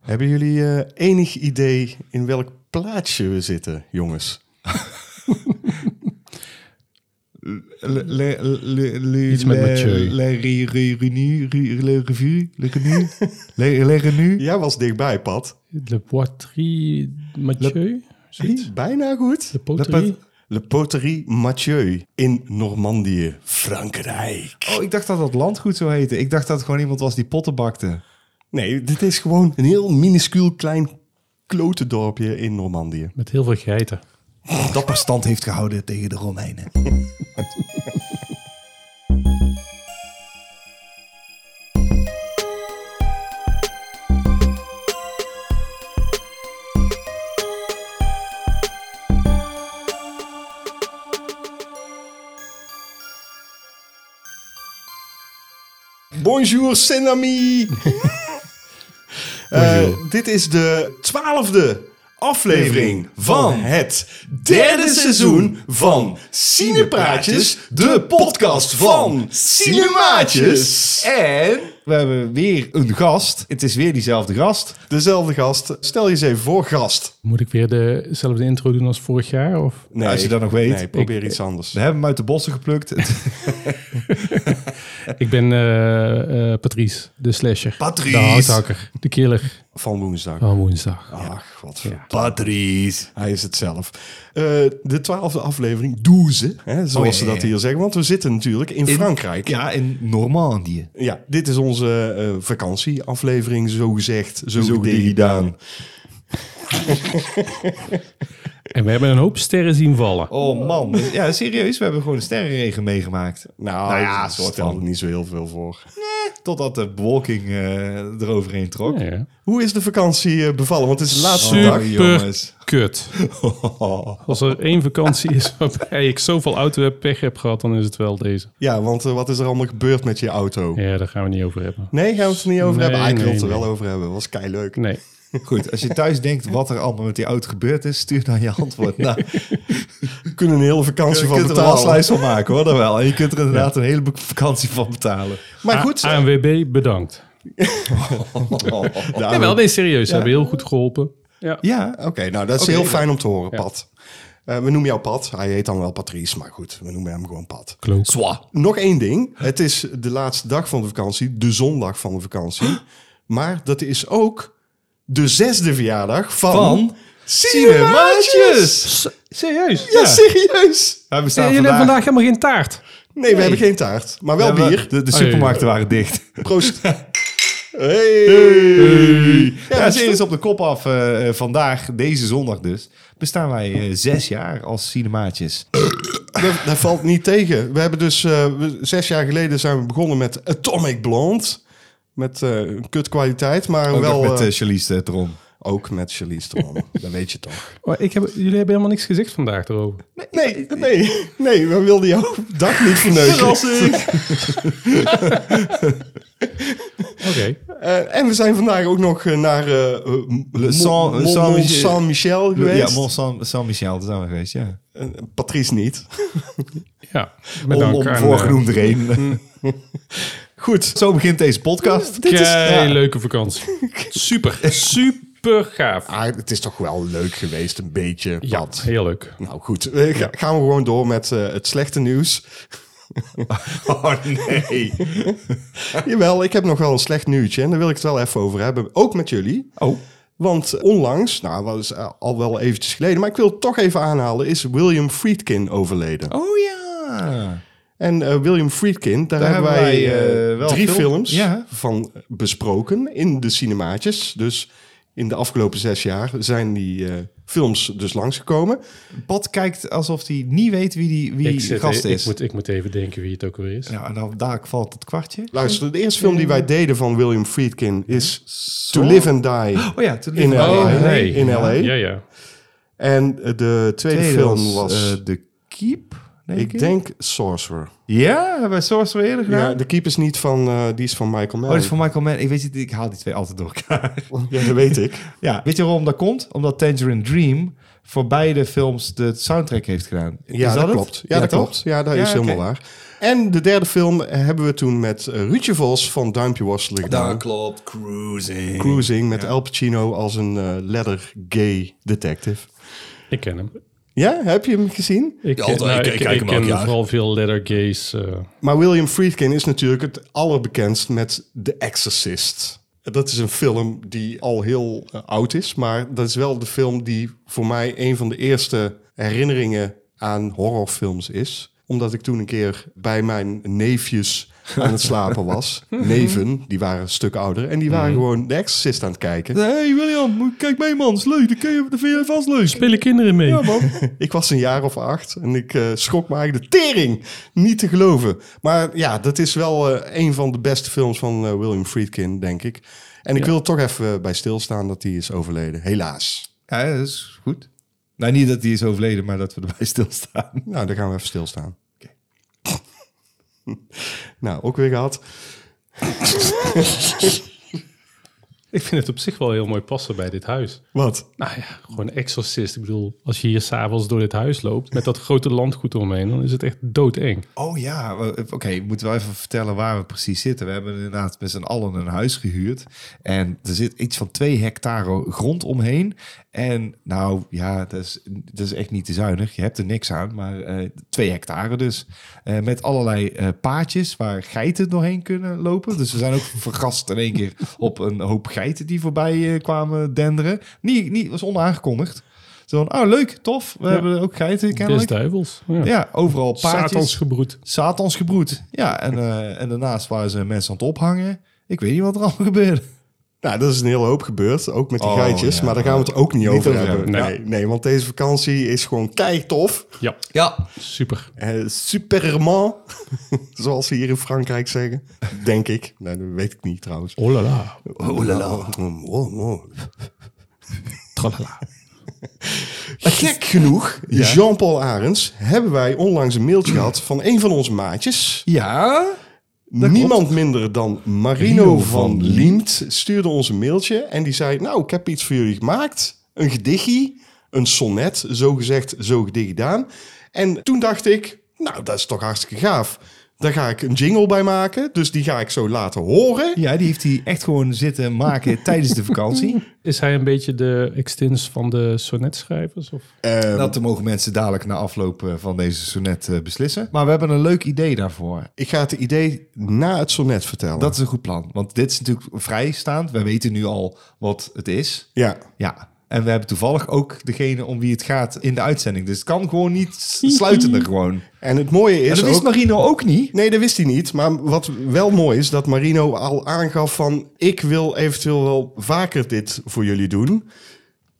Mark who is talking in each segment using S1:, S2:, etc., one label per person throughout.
S1: Hebben jullie eh, enig idee in welk plaatsje we zitten, jongens?
S2: Le, le, le, le,
S3: Iets met
S2: le-
S3: Mathieu.
S2: Le re- re- renu- re- le revue, le renu, le le renu.
S1: Jij was dichtbij, Pat.
S3: Le Poitrie Mathieu? Zoiets?
S1: Hm, Bijna goed.
S3: De Poterie?
S1: Le Poterie Mathieu in Normandië, Frankrijk.
S2: Oh, ik dacht dat dat landgoed zo heette. Ik dacht dat het gewoon iemand was die potten bakte.
S1: Nee, dit is gewoon een heel minuscuul klein klotendorpje in Normandië.
S3: Met heel veel geiten.
S2: Dat bestand heeft gehouden tegen de Romeinen.
S1: Bonjour, Senami. Eh, dit is de twaalfde aflevering van het derde seizoen van Cinepraatjes, de podcast van Cinemaatjes.
S2: En we hebben weer een gast. Het is weer diezelfde gast.
S1: Dezelfde gast. Stel je eens even voor, gast.
S3: Moet ik weer dezelfde intro doen als vorig jaar? Of?
S1: Nee,
S2: Als je dat nog weet.
S1: Nee, probeer iets anders.
S2: We hebben hem uit de bossen geplukt.
S3: Ik ben eh, eh, Patrice, de slasher.
S1: Patrice.
S3: De houthakker, de killer
S1: Van woensdag.
S3: van woensdag.
S1: Ach, wat voor Patrice. Hij is het zelf. Eh, de twaalfde aflevering, douze, hè, zoals
S2: ja,
S1: ze
S2: ja,
S1: dat
S2: ja.
S1: hier zeggen. Want we zitten natuurlijk in, Frankrijk. Ja.
S2: Ja, in Normandië.
S1: dit is onze eh, vakantieaflevering, zo gezegd, zo,
S2: Zo
S1: gedaan.
S2: gedaan.
S3: En we hebben een hoop sterren zien vallen.
S2: Oh man. Ja, serieus. We hebben gewoon een sterrenregen meegemaakt.
S1: Nou,
S2: Nou ja,
S1: dat
S2: soort
S1: stelt
S2: van.
S1: niet zo heel veel voor.
S2: Totdat de bewolking eh, eroverheen trok.
S3: Ja, ja.
S1: Hoe is de vakantie eh, bevallen? Want het is de laatste
S3: Super.
S1: Oh, dag.
S2: Oh, jongens.
S3: Kut. Als er één vakantie is waarbij ik zoveel auto-pech heb gehad, dan is het wel deze.
S1: Ja, want eh, wat is er allemaal gebeurd met je auto?
S3: Ja, daar gaan we niet over hebben.
S1: Nee, gaan we het er niet over
S3: Nee,
S1: hebben? Ah, ik wil
S3: nee,
S1: het er
S3: nee.
S1: wel over hebben. was kei leuk.
S3: Nee.
S2: Goed, als je thuis denkt wat er allemaal met die auto gebeurd is, stuur dan je antwoord naar.
S1: We kunnen een hele vakantie
S2: Je
S1: van
S2: kunt er wel een
S1: betalen.
S2: slijs van maken hoor, dan wel. En je kunt er inderdaad een heleboel vakantie van betalen.
S1: Maar goed, eh,
S3: A- ANWB, bedankt.
S1: Oh. de
S3: Ja, wel, nee, serieus. Ze hebben heel goed geholpen. Ja.
S1: Ja, oké. nou, dat is
S2: Oké.
S1: heel fijn om te horen, Pat. Eh, we noemen jou Pat. Hij heet dan wel Patrice, maar goed, we noemen hem gewoon Pat.
S3: Klook.
S1: Nog één ding. Het is de laatste dag van de vakantie, de zondag van de vakantie. Maar dat is ook de zesde verjaardag van...
S2: Van
S1: Cinemaatjes!
S3: Serieus?
S1: Ja, serieus!
S2: Ja, we
S3: Ja,
S2: staan
S3: jullie hebben
S2: vandaag,
S3: vandaag helemaal geen taart.
S1: Nee, we hebben geen taart, maar wel
S2: Ja, we-
S1: bier.
S2: De, de
S3: Oh, ja, ja.
S2: supermarkten waren dicht.
S1: Proost. Hey!
S2: Ja,
S1: Ja, dat is
S2: serieus op de kop af eh, eh, vandaag, deze zondag dus, bestaan wij eh, zes jaar als cinemaatjes.
S1: Dat, dat valt niet tegen. We hebben dus eh, we- zes jaar geleden zijn we begonnen met Atomic Blonde. Met eh, een kut kwaliteit, maar
S2: Ook
S1: wel
S2: nog met
S1: eh,
S2: eh Charlize Theron.
S1: ook met Charlize Theron. dat weet je toch?
S3: Maar Oh, ik heb, jullie hebben helemaal niks gezegd vandaag erover.
S1: Nee, nee, nee, we wilden jouw dag niet verneuken.
S3: Oké.
S1: Eh, en we zijn vandaag ook nog eh, naar eh, eh, Mont-
S2: Saint-
S1: Mont-
S2: Saint-
S1: Mont Saint-Michel geweest.
S2: Ja, Mont Saint, Saint Michel, daar zijn we geweest, ja.
S1: Eh, Patrice niet.
S3: Ja, met dank
S2: om om
S3: aan, eh,
S2: voorgenoemde reden.
S1: Mm. Goed,
S2: Zo begint deze podcast.
S3: eh,
S1: dit is...
S3: kei
S1: ja.
S3: leuke vakantie. Super, super gaaf.
S1: Ah, het is toch wel leuk geweest, een beetje.
S3: Ja,
S1: Pat.
S3: heel leuk.
S1: Nou goed, eh, ga- gaan we gewoon door met eh, het slechte nieuws.
S2: Oh nee.
S1: Jawel, ik heb nog wel een slecht nieuwtje en daar wil ik het wel even over hebben. Ook met jullie.
S2: Oh.
S1: Want onlangs, nou dat is eh, al wel eventjes geleden, maar ik wil het toch even aanhalen, is William Friedkin overleden.
S2: Oh ja.
S1: En eh, William Friedkin, daar, hebben wij,
S2: wij, eh, wel
S1: drie
S2: film-
S1: films
S2: Ja.
S1: van besproken in de cinemaatjes. Dus in de afgelopen zes jaar zijn die eh, films dus langsgekomen.
S2: Pat kijkt alsof hij niet weet wie die wie
S3: ik, zit-
S2: gast
S3: ik-
S2: is.
S3: Ik moet, ik moet even denken wie het ook weer is.
S2: Nou, en dan daar valt het kwartje.
S1: Luister, de eerste film die wij deden van William Friedkin is To Live and Die
S2: Oh ja, toen
S1: in
S2: die-
S1: LA.
S3: Oh, nee.
S1: In LA.
S3: Ja, ja.
S1: En eh, de tweede,
S2: Tweede
S1: film was eh,
S2: eh, The Keep. Nee,
S1: Ik denk Sorcerer.
S2: Ja, hebben we Sorcerer eerder gedaan?
S1: Ja, de keep is niet van, eh, die is van Michael
S2: Oh, dat
S1: Mann.
S2: is van Michael Mann. Ik weet niet, ik haal die twee altijd door elkaar.
S1: Ja, dat weet ik.
S2: Ja, weet je waarom dat komt? Omdat Tangerine Dream voor beide films de soundtrack heeft gedaan. Is
S1: Ja, dat,
S2: het?
S1: klopt. Ja, dat
S2: toch?
S1: klopt. Ja, dat
S2: Ja,
S1: is helemaal
S2: oké.
S1: waar. En de derde film hebben we toen met eh, Ruudje Vos van Duimpje Worstelen gedaan.
S2: klopt. Cruising.
S1: Cruising met Al Pacino als een eh leather gay detective.
S3: Ik ken hem.
S1: Ja, heb je hem gezien?
S3: Ik,
S4: Ja,
S3: ken-
S4: altijd.
S3: nou,
S4: Ik-
S3: ik,
S4: ik kijk
S3: ik
S4: hem
S3: ken
S4: elk jaar.
S3: vooral veel letter gays. eh.
S1: Maar William Friedkin is natuurlijk het allerbekendst met The Exorcist. Dat is een film die al heel eh, oud is, maar dat is wel de film die voor mij een van de eerste herinneringen aan horrorfilms is. Omdat ik toen een keer bij mijn neefjes aan het slapen was. Neven, die waren een stuk ouder. En die waren gewoon The Exorcist aan het kijken.
S2: Hey William, kijk mee man, is leuk. Dat, kun je, dat vind jij vast leuk.
S3: Spelen kinderen mee?
S2: Ja man.
S1: Ik was een jaar of acht en ik eh, schrok me eigenlijk de tering. Niet te geloven. Maar ja, dat is wel eh, een van de beste films van eh, William Friedkin, denk ik. En ik wil toch even eh, bij stilstaan dat hij is overleden. Helaas.
S2: Ja, dat is goed. Nou, niet dat die is overleden, maar dat we erbij stilstaan.
S1: Nou, daar gaan we even stilstaan. nou, ook weer gehad.
S3: Ik vind het op zich wel heel mooi passen bij dit huis.
S1: Wat?
S3: Nou ja, gewoon exorcist. Ik bedoel, als je hier s'avonds door dit huis loopt... met dat grote landgoed omheen, dan is het echt doodeng.
S2: Oh ja, we- oké. ik moet wel even vertellen waar we precies zitten. We hebben inderdaad met z'n allen een huis gehuurd. En er zit iets van twee hectare grond omheen. En nou ja, dat is, dat is echt niet te zuinig. Je hebt er niks aan, maar eh, twee hectare dus. Eh, met allerlei eh, paadjes waar geiten doorheen kunnen lopen. Dus we zijn ook verrast in één keer op een hoop geiten die voorbij eh, kwamen denderen. Niet, niet, was onaangekondigd. Zo van, oh leuk, tof. We
S3: Ja.
S2: hebben ook geiten
S3: Des
S2: kennelijk.
S3: duivels. Ja.
S2: Ja, overal paadjes.
S3: Satans gebroed.
S2: Satans gebroed. Ja, en, eh, en daarnaast waren ze mensen aan het ophangen. Ik weet niet wat er allemaal gebeurde.
S1: Nou, dat is een hele hoop gebeurd, ook met die
S2: Oh,
S1: geitjes.
S2: ja.
S1: Maar daar gaan we het ook niet, over
S2: over
S1: hebben.
S3: hebben,
S1: Nee, nee, want deze vakantie is gewoon kei tof.
S3: Ja,
S4: Ja,
S3: super.
S1: Eh, superman, zoals ze hier in Frankrijk zeggen. Denk ik. Nee, dat weet ik niet trouwens.
S3: Oh la la.
S1: Oh la Oh, la. Wow, wow.
S3: Tralala.
S1: Gek genoeg, Jean-Paul Arends, hebben wij onlangs een mailtje gehad van een van onze maatjes.
S2: Ja?
S1: Niemand minder dan Marino van Liemt stuurde ons een mailtje en die zei: Nou, ik heb iets voor jullie gemaakt. Een gedichtje, een sonnet, zo gezegd, zo gedicht gedaan. En toen dacht ik: Nou, dat is toch hartstikke gaaf. Daar ga ik een jingle bij maken, dus die ga ik zo laten horen.
S2: Ja, die heeft hij echt gewoon zitten maken tijdens de vakantie.
S3: Is hij een beetje de extins van de sonnetschrijvers? Of?
S1: Ehm,
S2: Dat mogen mensen dadelijk na afloop eh, van deze sonnet eh, beslissen. Maar we hebben een leuk idee daarvoor.
S1: Ik ga het idee na het sonnet vertellen.
S2: Dat is een goed plan. Want dit is natuurlijk vrijstaand. We weten nu al wat het is.
S1: ja.
S2: Ja. En we hebben toevallig ook degene om wie het gaat in de uitzending. Dus het kan gewoon niet sluitender gewoon.
S1: En het mooie
S2: En
S1: is
S2: dat wist
S1: ook...
S2: Marino ook niet.
S1: Nee, dat wist hij niet. Maar wat wel mooi is, dat Marino al aangaf van... ik wil eventueel wel vaker dit voor jullie doen.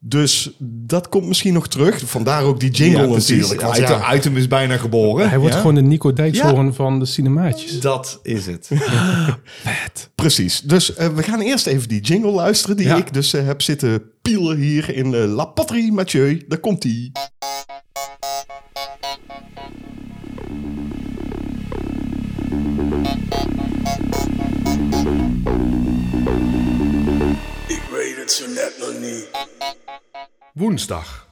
S1: Dus dat komt misschien nog terug. Vandaar ook die jingle natuurlijk. want
S2: Uit,
S1: ja,
S2: uit hem is bijna geboren.
S3: Hij wordt
S2: Ja?
S3: gewoon de Nico Dijkshoorn van de cinemaatjes.
S2: Dat is het.
S1: precies. Dus eh, we gaan eerst even die jingle luisteren... die
S2: Ja.
S1: ik dus eh, heb zitten pielen hier in eh, La Patrie Mathieu. Daar komt die.
S4: ik weet het zo net nog niet.
S5: Woensdag.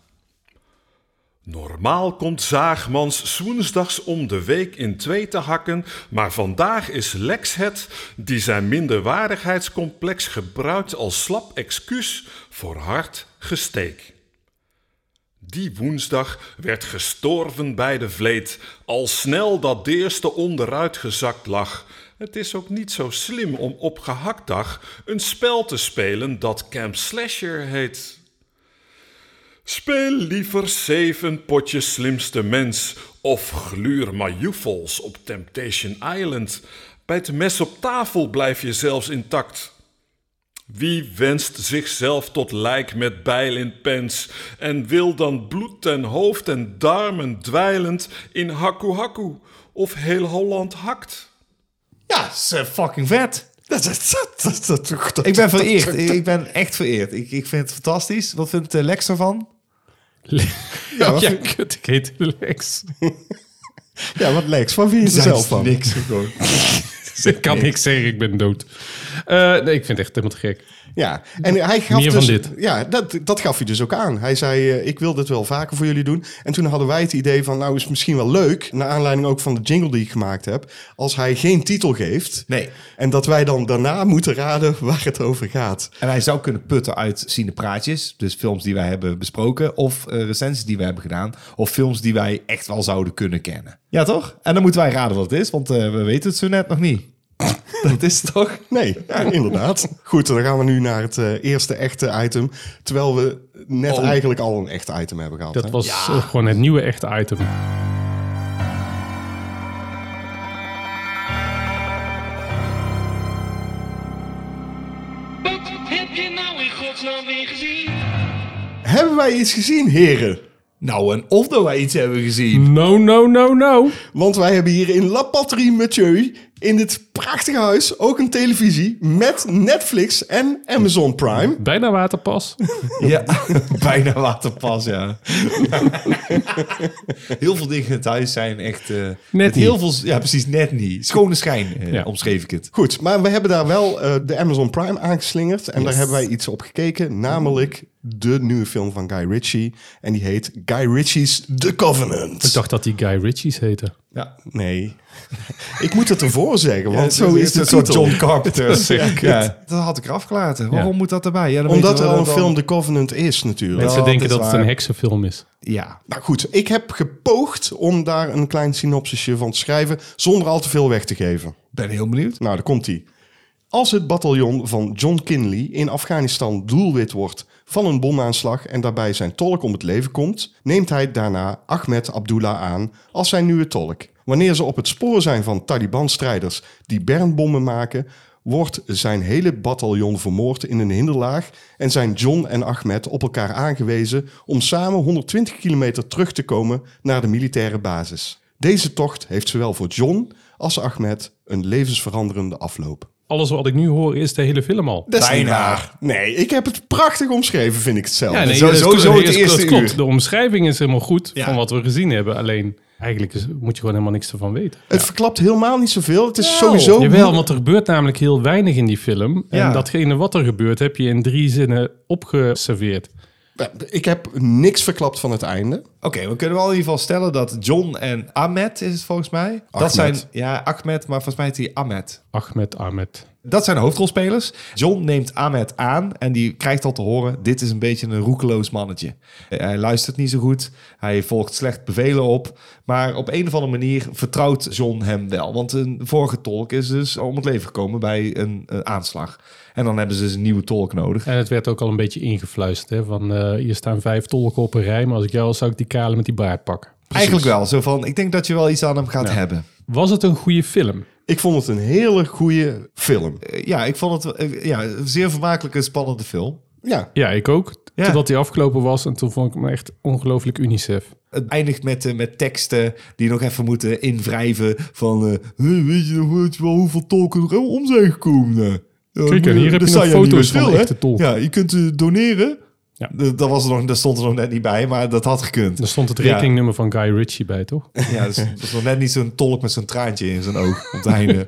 S5: Normaal komt Zaagmans woensdags om de week in twee te hakken, maar vandaag is Lex het die zijn minderwaardigheidscomplex gebruikt als slap excuus voor hard gesteek. Die woensdag werd gestorven bij de vleet, al snel dat deerste onderuit gezakt lag. Het is ook niet zo slim om op gehaktdag een spel te spelen dat Camp Slasher heet. Speel liever zeven potjes slimste mens of gluur majoefels op Temptation Island. Bij het mes op tafel blijf je zelfs intact. Wie wenst zichzelf tot lijk met bijl in pens en wil dan bloed ten hoofd en darmen dweilend in hakku hakku of heel Holland hakt?
S2: Ja, is eh, fucking vet.
S1: Dat, dat, dat, dat, dat-
S2: Ik ben vereerd. Ik ben echt vereerd. Ik, ik vind het fantastisch. Wat vindt eh, Lex ervan?
S3: Le- Ja, kut, ik heet Lex.
S1: Ja, wat Lex, waar vind je er
S2: Zij
S1: zelf
S2: is
S1: van?
S2: niks gewoon.
S3: ik kan niks zeggen, ik ben dood. Eh, nee, ik vind het echt helemaal te gek.
S1: Ja, en hij gaf
S3: Meer
S1: dus,
S3: van dit.
S1: Ja, dat, dat gaf hij dus ook aan. Hij zei, eh, ik wil dit wel vaker voor jullie doen. En toen hadden wij het idee van, nou is misschien wel leuk... naar aanleiding ook van de jingle die ik gemaakt heb... als hij geen titel geeft.
S2: Nee.
S1: En dat wij dan daarna moeten raden waar het over gaat.
S2: En hij zou kunnen putten uit cinepraatjes, dus films die wij hebben besproken, of eh, recensies die wij hebben gedaan, of films die wij echt wel zouden kunnen kennen. Ja, toch? En dan moeten wij raden wat het is, want eh, we weten het zo net nog niet. dat is het toch?
S1: Nee, ja, inderdaad. Goed, dan gaan we nu naar het eh, eerste echte item. Terwijl we net eigenlijk al een echt item hebben gehad. hè?
S3: Dat was eh, gewoon het nieuwe echte item.
S6: Wat heb je nou in godsnaam weer gezien?
S1: Hebben wij iets gezien, heren?
S2: Nou, en of dat wij iets hebben gezien.
S3: No, no, no, no.
S1: Want wij hebben hier in La Patrie Mathieu, in dit prachtige huis, ook een televisie met Netflix en Amazon Prime.
S3: Bijna waterpas.
S2: Ja, bijna waterpas, ja. heel veel dingen in het huis zijn echt... eh, met
S3: niet.
S2: Heel veel, ja, precies, net niet. Schone schijn, eh,
S3: Ja.
S2: omschreef ik het.
S1: Goed, maar we hebben daar wel eh, de Amazon Prime aangeslingerd. En daar hebben wij iets op gekeken, namelijk de nieuwe film van Guy Ritchie. En die heet Guy Ritchie's The Covenant.
S3: Ik dacht dat die Guy Ritchie's heette.
S2: Ja.
S1: Nee. Ik moet het ervoor zeggen, want
S2: Want
S1: zo is
S2: het
S1: de
S2: een soort
S1: titel.
S2: John Carpenter.
S3: zeg ik
S2: ja. Dat had ik eraf gelaten. Waarom
S3: Ja.
S2: moet dat erbij? Ja, dan
S1: Omdat
S2: weten
S1: er
S2: we
S1: al een
S2: dat
S1: film The Covenant is natuurlijk.
S3: Mensen
S2: dat
S3: denken
S2: is
S3: dat het
S2: waar.
S3: een heksenfilm is.
S2: Ja.
S1: Nou goed, ik heb gepoogd om daar een klein synopsisje van te schrijven... zonder al te veel weg te geven.
S2: Ben heel benieuwd.
S1: Nou, daar komt hij. Als het bataljon van John Kinley in Afghanistan doelwit wordt van een bomaanslag en daarbij zijn tolk om het leven komt, neemt hij daarna Ahmed Abdullah aan als zijn nieuwe tolk. Wanneer ze op het spoor zijn van Taliban-strijders die bermbommen maken, wordt zijn hele bataljon vermoord in een hinderlaag en zijn John en Ahmed op elkaar aangewezen om samen 120 kilometer terug te komen naar de militaire basis. Deze tocht heeft zowel voor John als Ahmed een levensveranderende afloop.
S3: Alles wat ik nu hoor is de hele film al.
S1: Dat is
S2: Bijna.
S1: niet waar. Nee, ik heb het prachtig omschreven, vind ik het zelf.
S3: Ja, nee,
S2: Zo-
S3: dat is-
S2: sowieso
S3: dat
S2: het
S3: is-
S2: eerste
S3: dat klopt.
S2: uur.
S3: De omschrijving is helemaal goed
S2: Ja.
S3: van wat we gezien hebben. Alleen, eigenlijk is, moet je gewoon helemaal niks ervan weten.
S1: Het verklapt helemaal niet zoveel. Het is sowieso...
S3: Jawel, want er gebeurt namelijk heel weinig in die film.
S2: Ja.
S3: En datgene wat er gebeurt, heb je in drie zinnen opgeserveerd.
S1: Ik heb niks verklapt van het einde.
S2: Oké, we kunnen wel in ieder geval stellen dat John en Ahmed is het volgens mij. Dat
S1: Ahmed.
S2: zijn, ja, Ahmed, maar volgens mij heet hij Ahmed.
S3: Ahmed, Ahmed.
S2: Dat zijn de hoofdrolspelers. John neemt Ahmed aan en die krijgt al te horen... dit is een beetje een roekeloos mannetje. Eh, Hij luistert niet zo goed, hij volgt slecht bevelen op... maar op een of andere manier vertrouwt John hem wel. Want een vorige tolk is dus om het leven gekomen bij een, eh, aanslag. En dan hebben ze dus een nieuwe tolk nodig.
S3: En het werd ook al een beetje ingefluisterd. Hè, van, eh, hier staan vijf tolken op een rij, maar als ik jou was, zou ik die kale met die baard pakken.
S2: Eigenlijk wel, zo van... ik denk dat je wel iets aan hem gaat hebben.
S3: Was het een goede film?
S1: Ik vond het een hele goede film.
S2: Eh, Ja, ik vond het eh, ja, een zeer vermakelijke, spannende film.
S1: Ja,
S3: Ja, ik ook.
S2: Ja.
S3: Totdat die afgelopen was en toen vond ik hem echt ongelooflijk unicef.
S2: Het eindigt met, eh, met teksten die nog even moeten invrijven van... eh, "Hey, weet je nog weet je wel hoeveel tolken er om zijn gekomen? Ja,
S3: Kijk, en hier heb je nog
S2: sta niet
S3: foto's
S2: bij
S3: van
S2: hè?
S3: echte tolken.
S2: Ja, je kunt eh, doneren.
S3: Ja.
S2: D- Dat, was er nog, dat stond er nog net niet bij, maar dat had gekund.
S3: Daar stond het rekeningnummer van Guy Ritchie bij, toch?
S2: Ja, ja, dus, dat was nog net niet zo'n tolk met zo'n traantje in zijn oog op het einde.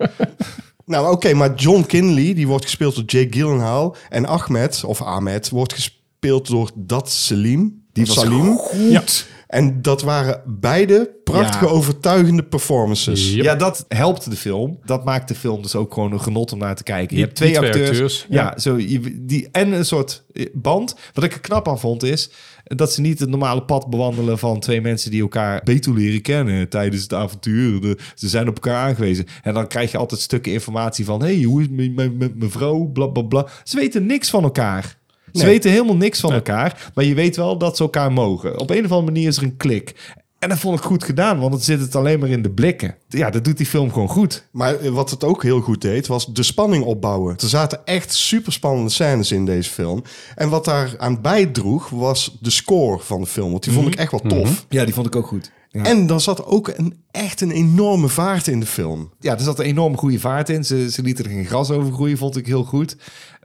S1: nou oké, maar John Kinley, die wordt gespeeld door Jake Gyllenhaal. En Ahmed, of Ahmed, wordt gespeeld door Dat Selim. Die
S2: was
S1: Salim.
S3: Ja.
S1: En dat waren beide prachtige,
S2: Ja.
S1: overtuigende performances.
S3: Yep.
S2: Ja, dat helpt de film. Dat maakt de film dus ook gewoon een genot om naar te kijken. Je
S3: Die-
S2: hebt twee,
S3: die twee
S2: acteurs.
S3: acteurs,
S2: ja, Zo, je- die, en een soort eh, band. Wat ik er knap aan vond is dat ze niet het normale pad bewandelen van twee mensen die elkaar beter leren kennen tijdens het avontuur. De- ze zijn op elkaar aangewezen. En dan krijg je altijd stukken informatie van: hey, hoe is het met- met met mijn vrouw? Bla bla bla. Ze weten niks van elkaar. Ze weten helemaal niks van elkaar, maar je weet wel dat ze elkaar mogen. Op een of andere manier is er een klik. En dat vond ik goed gedaan, want dan zit het alleen maar in de blikken. Ja, dat doet die film gewoon goed.
S1: Maar eh, wat het ook heel goed deed, was de spanning opbouwen. Er zaten echt super spannende scènes in deze film. En wat daar aan bijdroeg, was de score van de film. Want die vond ik echt wel tof.
S2: Ja, die vond ik ook goed. Ja,
S1: En dan zat ook een, echt een enorme vaart in de film.
S2: ja er zat een enorm goede vaart in. Ze, ze lieten er geen gras over groeien, vond ik heel goed.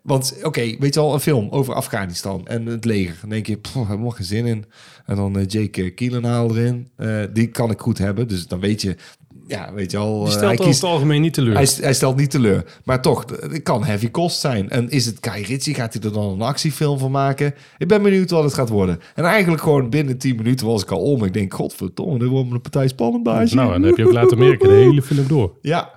S2: Want oké, weet je al, een film over Afghanistan en het leger. Dan denk je, pff, daar heb ik nog geen zin in. En dan eh, Jake Kielenhaal erin. Eh, die kan ik goed hebben. Dus dan weet je, ja, weet je al. eh,
S3: Die
S2: hij
S3: stelt over
S2: kiest-
S3: het algemeen niet teleur.
S2: hij, st- hij stelt niet teleur. Maar toch, d- het kan heavy cost zijn. En is het Kai Ritchie? Gaat hij er dan een actiefilm van maken? Ik ben benieuwd wat het gaat worden. En eigenlijk gewoon binnen 10 minuten was ik al om. Ik denk, godverdomme, dit wordt een partij spannend baasje.
S3: nou, en dan heb je ook laten merken de hele film door.
S2: Ja,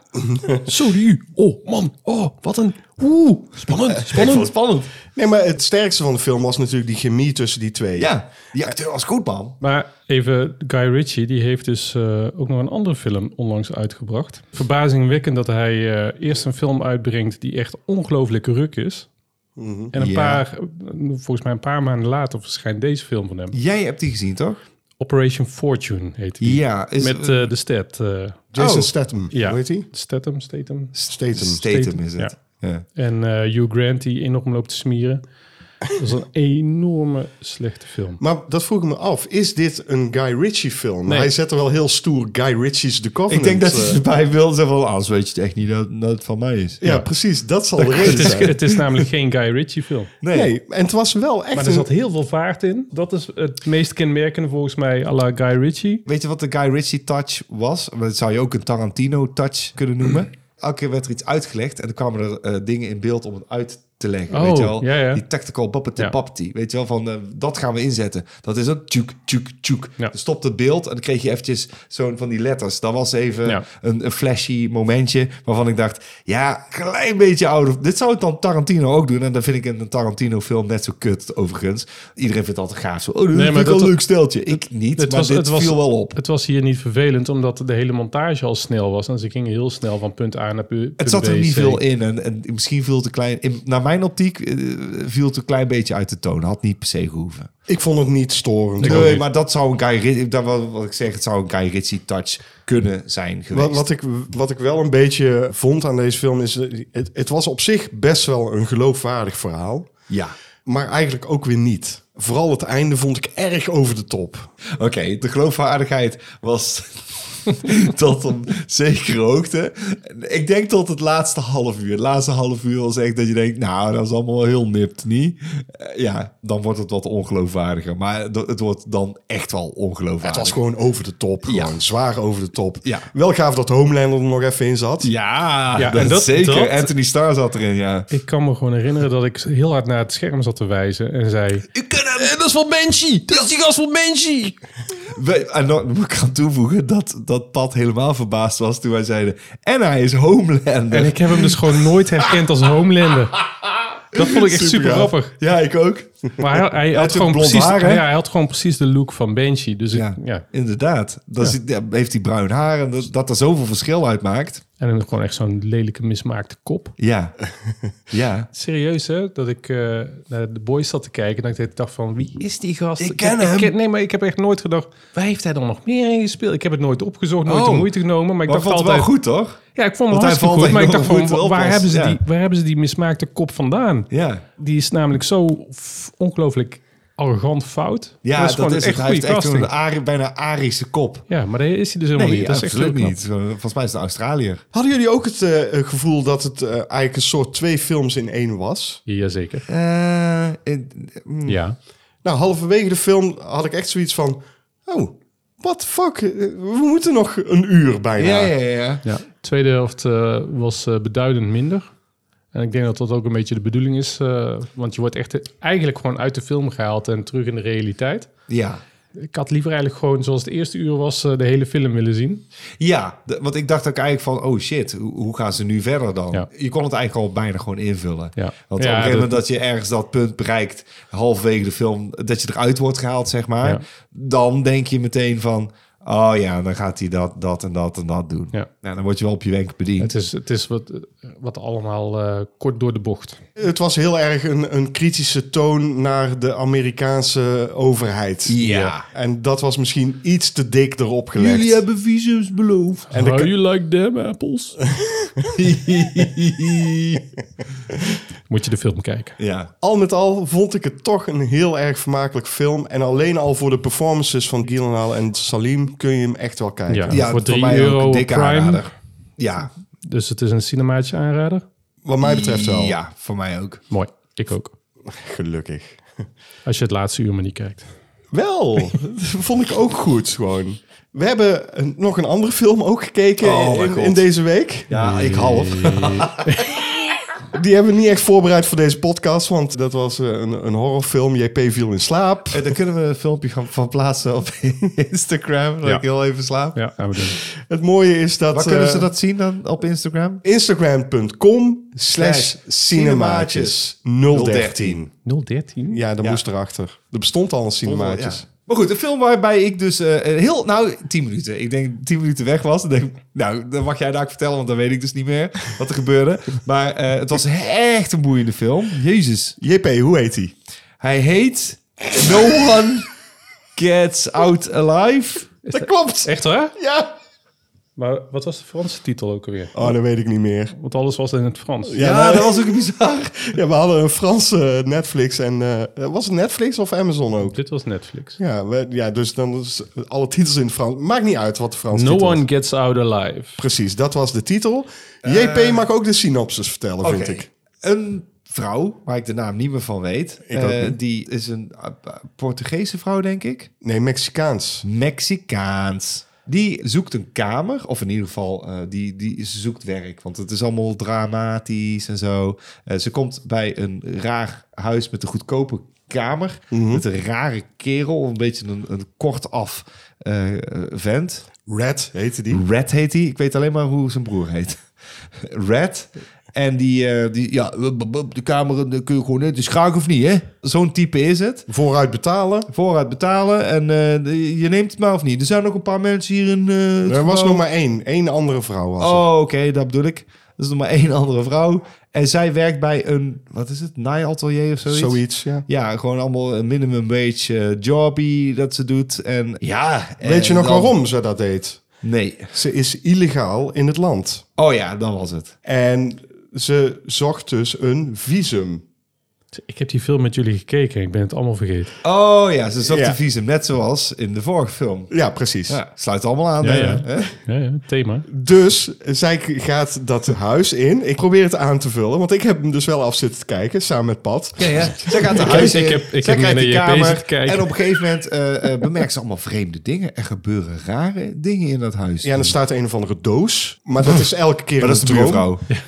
S7: Sorry. Oh, man. Oh, wat een... Oeh, spannend, spannend.
S2: spannend.
S1: Nee, maar het sterkste van de film was natuurlijk die chemie tussen die twee.
S2: Ja, die acteur was goed, man.
S3: Maar even, Guy Ritchie, die heeft dus eh, ook nog een andere film onlangs uitgebracht. Verbazingwekkend dat hij eh, eerst een film uitbrengt die echt ongelooflijk ruk is. En een
S2: Ja.
S3: paar, eh, volgens mij een paar maanden later verschijnt deze film van hem.
S2: Jij hebt die gezien, toch?
S3: Operation Fortune heet die.
S2: Ja, is
S3: Met eh, de stat. eh,
S1: Jason
S2: Oh.
S1: Statham,
S3: ja.
S1: hoe heet hij?
S3: Statham, Statham.
S1: Statham.
S2: Statham,
S3: Statham,
S2: is het. Ja.
S3: En eh, Hugh Grant die enorm loopt te smieren. Dat is een enorme slechte film.
S1: Maar dat vroeg ik me af. Is dit een Guy Ritchie film? Maar
S3: Nee.
S1: Hij zet er wel heel stoer Guy Ritchie's The
S2: Ik
S1: Covenant.
S2: denk dat
S1: eh,
S2: hij erbij wil zeggen van, anders weet je het echt niet dat, dat het van mij is.
S1: ja, precies. Dat zal de
S3: Het
S1: reden
S3: is,
S1: zijn.
S3: het is namelijk geen Guy Ritchie film.
S1: Nee. en het was wel echt
S3: Maar er zat
S1: een...
S3: heel veel vaart in. Dat is het meest kenmerkende volgens mij à la Guy Ritchie.
S2: Weet je wat de Guy Ritchie touch was? Maar Dat zou je ook een Tarantino touch kunnen
S3: Mm.
S2: noemen. Elke keer werd er iets uitgelegd en dan kwamen er eh, dingen in beeld om het uit te leggen.
S3: Oh,
S2: weet je wel?
S3: ja, ja.
S2: Die tactical bappity
S3: Ja.
S2: papti. Weet je wel, van eh, dat gaan we inzetten. Dat is ook tjuk, tjuk, tjuk.
S3: Ja.
S2: Dan stopt het beeld en dan kreeg je eventjes zo'n van die letters. Dat was even
S3: Ja.
S2: een, een flashy momentje waarvan ik dacht... Ja, klein beetje ouder. Dit zou het dan Tarantino ook doen. En dat vind ik in een Tarantino film net zo kut overigens. Iedereen vindt dat gaaf. Zo, oh, dat
S3: maar
S2: vind ik wel
S3: dat-
S2: een leuk steltje. Ik niet, maar dit viel wel op.
S3: Het was hier niet vervelend, omdat de hele montage al snel was. En ze gingen heel snel van punt A naar pu- punt B.
S2: Het zat er niet
S3: C.
S2: veel in en, en misschien viel het een klein... In, naar mijn optiek eh, viel het een klein beetje uit de toon. Had niet per se gehoeven.
S1: Ik vond het niet storend.
S2: Nee,
S3: niet.
S2: maar dat zou een Guy Ritchie... Dat was wat ik zeg, het zou een Guy Ritchie touch kunnen zijn geweest.
S1: Wat, wat, ik, wat ik wel een beetje vond aan deze film is... eh, Het, het was op zich best wel een geloofwaardig verhaal.
S2: Ja.
S1: Maar eigenlijk ook weer niet. Vooral het einde vond ik erg over de top.
S2: Oké, de geloofwaardigheid was tot een zekere hoogte. Ik denk tot het laatste half uur. Het laatste half uur was echt dat je denkt... Nou, dat is allemaal heel nipt, niet? Eh, ja, dan wordt het wat ongeloofwaardiger. Maar do- het wordt dan echt wel ongeloofwaardig.
S1: Het was gewoon over de top.
S2: Ja.
S1: Gewoon zwaar over de top.
S2: Ja.
S1: Wel gaaf dat Homelander er nog even in zat.
S2: Ja,
S3: Ja,
S2: dat
S3: en dat-
S2: zeker.
S3: dat-
S2: Anthony Starr zat erin, ja.
S3: Ik kan me gewoon herinneren dat ik heel hard naar het scherm zat te wijzen. En zei,
S7: Ik ken hem. Eh, Dat is van Banshee. Dat is die gast van Banshee.
S2: We, en dan moet ik aan toevoegen dat, dat Pat helemaal verbaasd was toen wij zeiden... En hij is Homelander.
S3: en ik heb hem dus gewoon nooit herkend als Homelander. Dat vond ik echt super
S2: Supergaaf.
S3: grappig.
S2: Ja, ik ook.
S3: Maar hij, hij had
S2: ook
S3: gewoon
S2: blond
S3: precies,
S2: haar, hè?
S3: ja, hij had gewoon precies de look van Banshee. Dus ik-
S2: Ja,
S3: ja.
S2: inderdaad. Dan zit- ja, heeft hij bruin haar en dat, dat er zoveel verschil uitmaakt.
S3: En dan gewoon echt zo'n lelijke mismaakte kop.
S2: Ja. ja.
S3: Serieus hè, dat ik eh, naar de boys zat te kijken en dat ik dacht van wie is die gast?
S2: Ik ken hem.
S3: nee, maar ik heb echt nooit gedacht, waar heeft hij dan nog meer in gespeeld? Ik heb het nooit opgezocht, nooit de
S2: Oh.
S3: moeite genomen, maar ik
S2: Maar ik
S3: dacht
S2: vond het
S3: altijd...
S2: wel goed, toch?
S3: Ja, ik vond hem
S2: Want hij
S3: hartstikke
S2: valt
S3: goed, maar ik
S2: enorm
S3: dacht van
S2: goed
S3: wa-
S2: op
S3: waar
S2: als-
S3: hebben, ze
S2: ja.
S3: die, waar hebben ze die mismaakte kop vandaan?
S2: Ja.
S3: Die is namelijk zo f- ongelooflijk arrogant fout.
S2: Ja, dat is,
S3: gewoon
S2: het. Hij
S3: goede
S2: heeft echt
S3: casting.
S2: een Ari- bijna Arische kop.
S3: Ja, maar dat is hij dus helemaal niet. Dat is echt
S2: absoluut
S3: heel knap.
S2: niet. Zo, Volgens mij is het een Australiër.
S1: Hadden jullie ook het eh, gevoel dat het eh, eigenlijk een soort twee films in één was?
S3: Jazeker.
S2: Eh, in- mm.
S3: Ja.
S1: Nou, halverwege de film had ik echt zoiets van... Oh, what the fuck? Eh, We moeten nog een uur bijna.
S2: ja, ja, ja.
S3: ja. Tweede helft eh, was eh, beduidend minder. En ik denk dat dat ook een beetje de bedoeling is. eh, want je wordt echt eigenlijk gewoon uit de film gehaald en terug in de realiteit.
S2: Ja.
S3: Ik had liever eigenlijk gewoon, zoals het eerste uur was, eh, de hele film willen zien.
S2: Ja, de- want ik dacht ook eigenlijk van, oh shit, hoe, hoe gaan ze nu verder dan?
S3: Ja.
S2: Je kon het eigenlijk al bijna gewoon invullen.
S3: Ja.
S2: Want
S3: Ja,
S2: op een
S3: dat-
S2: gegeven moment dat je ergens dat punt bereikt, halverwege de film, dat je eruit wordt gehaald, zeg maar,
S3: Ja.
S2: dan denk je meteen van, oh ja, dan gaat hij dat, dat en dat en dat doen.
S3: Ja.
S2: Nou, dan word je wel op je wenk bediend.
S3: Het is, het is wat, eh, wat allemaal eh, kort door de bocht.
S1: Het was heel erg een, een kritische toon naar de Amerikaanse overheid.
S2: Ja.
S1: En dat was misschien iets te dik erop gelegd.
S2: hebben visums beloofd.
S1: En de
S3: How
S1: ka-
S3: you like them apples? Moet je de film kijken.
S2: Ja,
S1: Al met al vond ik het toch een heel erg vermakelijk film. En alleen al voor de performances van Gyllenhaal en Salim kun je hem echt wel kijken.
S3: Ja,
S2: ja
S3: voor
S2: voor
S3: 3
S2: mij ook
S3: euro
S2: een dikke
S3: Prime.
S2: aanrader. Ja,
S3: Dus het is een cinemaatje aanrader.
S1: Wat mij betreft wel.
S2: Ja, voor mij ook.
S3: Mooi. Ik ook.
S1: Gelukkig.
S3: Als je het laatste uur maar niet kijkt.
S1: Wel, dat vond ik ook goed gewoon. We hebben een- nog een andere film ook gekeken
S2: Oh, mijn
S1: in,
S2: God.
S1: in deze week.
S2: Ja, ik
S1: half. Die hebben we niet echt voorbereid voor deze podcast, want dat was eh, een, een horrorfilm. JP viel in slaap.
S2: Eh, Daar kunnen we een filmpje gaan- van plaatsen op Instagram. Dat
S3: Ja.
S2: ik heel even slaap.
S3: Ja, gaan we doen.
S1: Het mooie is dat...
S2: Waar kunnen ze
S1: eh,
S2: dat zien dan op Instagram?
S1: Instagram.com slash
S2: Slash
S1: cinemaatjes 013.
S3: 013?
S1: Ja, dat
S2: Ja.
S1: moest erachter. Er bestond al een cinemaatjes.
S2: Ja. Maar goed, een film waarbij ik dus eh, een heel, nou, 10 minuten. Ik denk 10 minuten weg was. Dan denk ik, nou, dat mag jij daar vertellen, want dan weet ik dus niet meer wat er gebeurde. Maar eh, het was echt een boeiende film. Jezus.
S1: JP, hoe heet die?
S2: Hij heet No One Gets Out Alive.
S1: Dat klopt.
S3: Echt waar?
S1: Ja.
S3: Maar wat was de Franse titel ook alweer?
S1: Oh, dat weet ik niet meer.
S3: Want alles was in het Frans.
S1: Ja,
S2: Ja,
S1: nou-
S2: Ah, dat was ook bizar.
S1: Ja, we hadden een Franse Netflix en eh, was het Netflix of Amazon ook?
S3: Dit was Netflix.
S1: Ja, we- ja dus dan is alle titels in het Frans. Maakt niet uit wat de Frans
S3: No
S1: titel is.
S3: one gets out alive.
S1: Precies, dat was de titel. JP mag ook de synopsis vertellen, vind ik.
S2: Een vrouw, waar ik de naam niet meer van weet.
S1: Ik ook
S2: eh,
S1: niet.
S2: die is een eh, Portugese vrouw, denk ik.
S1: Nee, Mexicaans.
S2: Mexicaans. Die zoekt een kamer, of in ieder geval, eh, die, die ze zoekt werk. Want het is allemaal dramatisch en zo. Eh, ze komt bij een raar huis met een goedkope kamer.
S1: Mhm.
S2: Met een rare kerel, een beetje een, een kortaf eh, vent.
S1: Red heette die.
S2: Red heet hij. Ik weet alleen maar hoe zijn broer heet. Red. En die, eh, die ja, wup, wup, wup, de kamer, daar kun je gewoon in. Het is graag of niet, hè? Zo'n type is het.
S1: Vooruit betalen.
S2: Vooruit betalen en eh, de- je neemt het maar of niet. Er zijn nog een paar mensen hier in. eh, het
S1: Er was
S2: gebouw.
S1: nog maar één. Eén andere vrouw was er.
S2: Oh, oké, dat bedoel ik. Er is nog maar één andere vrouw. En zij werkt bij een, wat is het, naaiatelier of zoiets?
S1: Zoiets, ja.
S2: Ja, gewoon allemaal een minimum wage eh, jobby dat ze doet. En ja. en
S1: Weet je nog
S2: dan-
S1: waarom ze dat deed?
S2: Nee.
S1: Ze is illegaal in het land.
S2: Oh ja, dan was het.
S1: En ze zocht dus een visum.
S3: Ik heb die film met jullie gekeken. Ik ben het allemaal vergeten.
S2: Oh ja, ze zocht
S1: Ja.
S2: de visum, net zoals in de vorige film.
S1: Ja, precies.
S2: Ja, sluit allemaal aan.
S3: Ja,
S2: hè?
S3: ja.
S2: Hè?
S3: Ja, ja, thema.
S1: Dus zij gaat dat huis in. Ik probeer het aan te vullen, want ik heb hem dus wel af zitten te kijken, samen met Pat.
S2: Ja, ja. Zij gaat naar huis eh,
S3: ik
S2: in,
S3: heb- ik
S2: zij krijgt
S3: heb naar
S2: die
S3: JP
S2: kamer
S3: zitten kijken.
S2: en op een gegeven moment eh, eh, bemerkt ze allemaal vreemde dingen. Er gebeuren rare dingen in dat huis.
S1: Ja, en er staat een of andere doos, maar dat is elke keer
S2: maar
S1: in
S2: dat is
S1: een
S2: de
S1: droom.
S2: buurvrouw.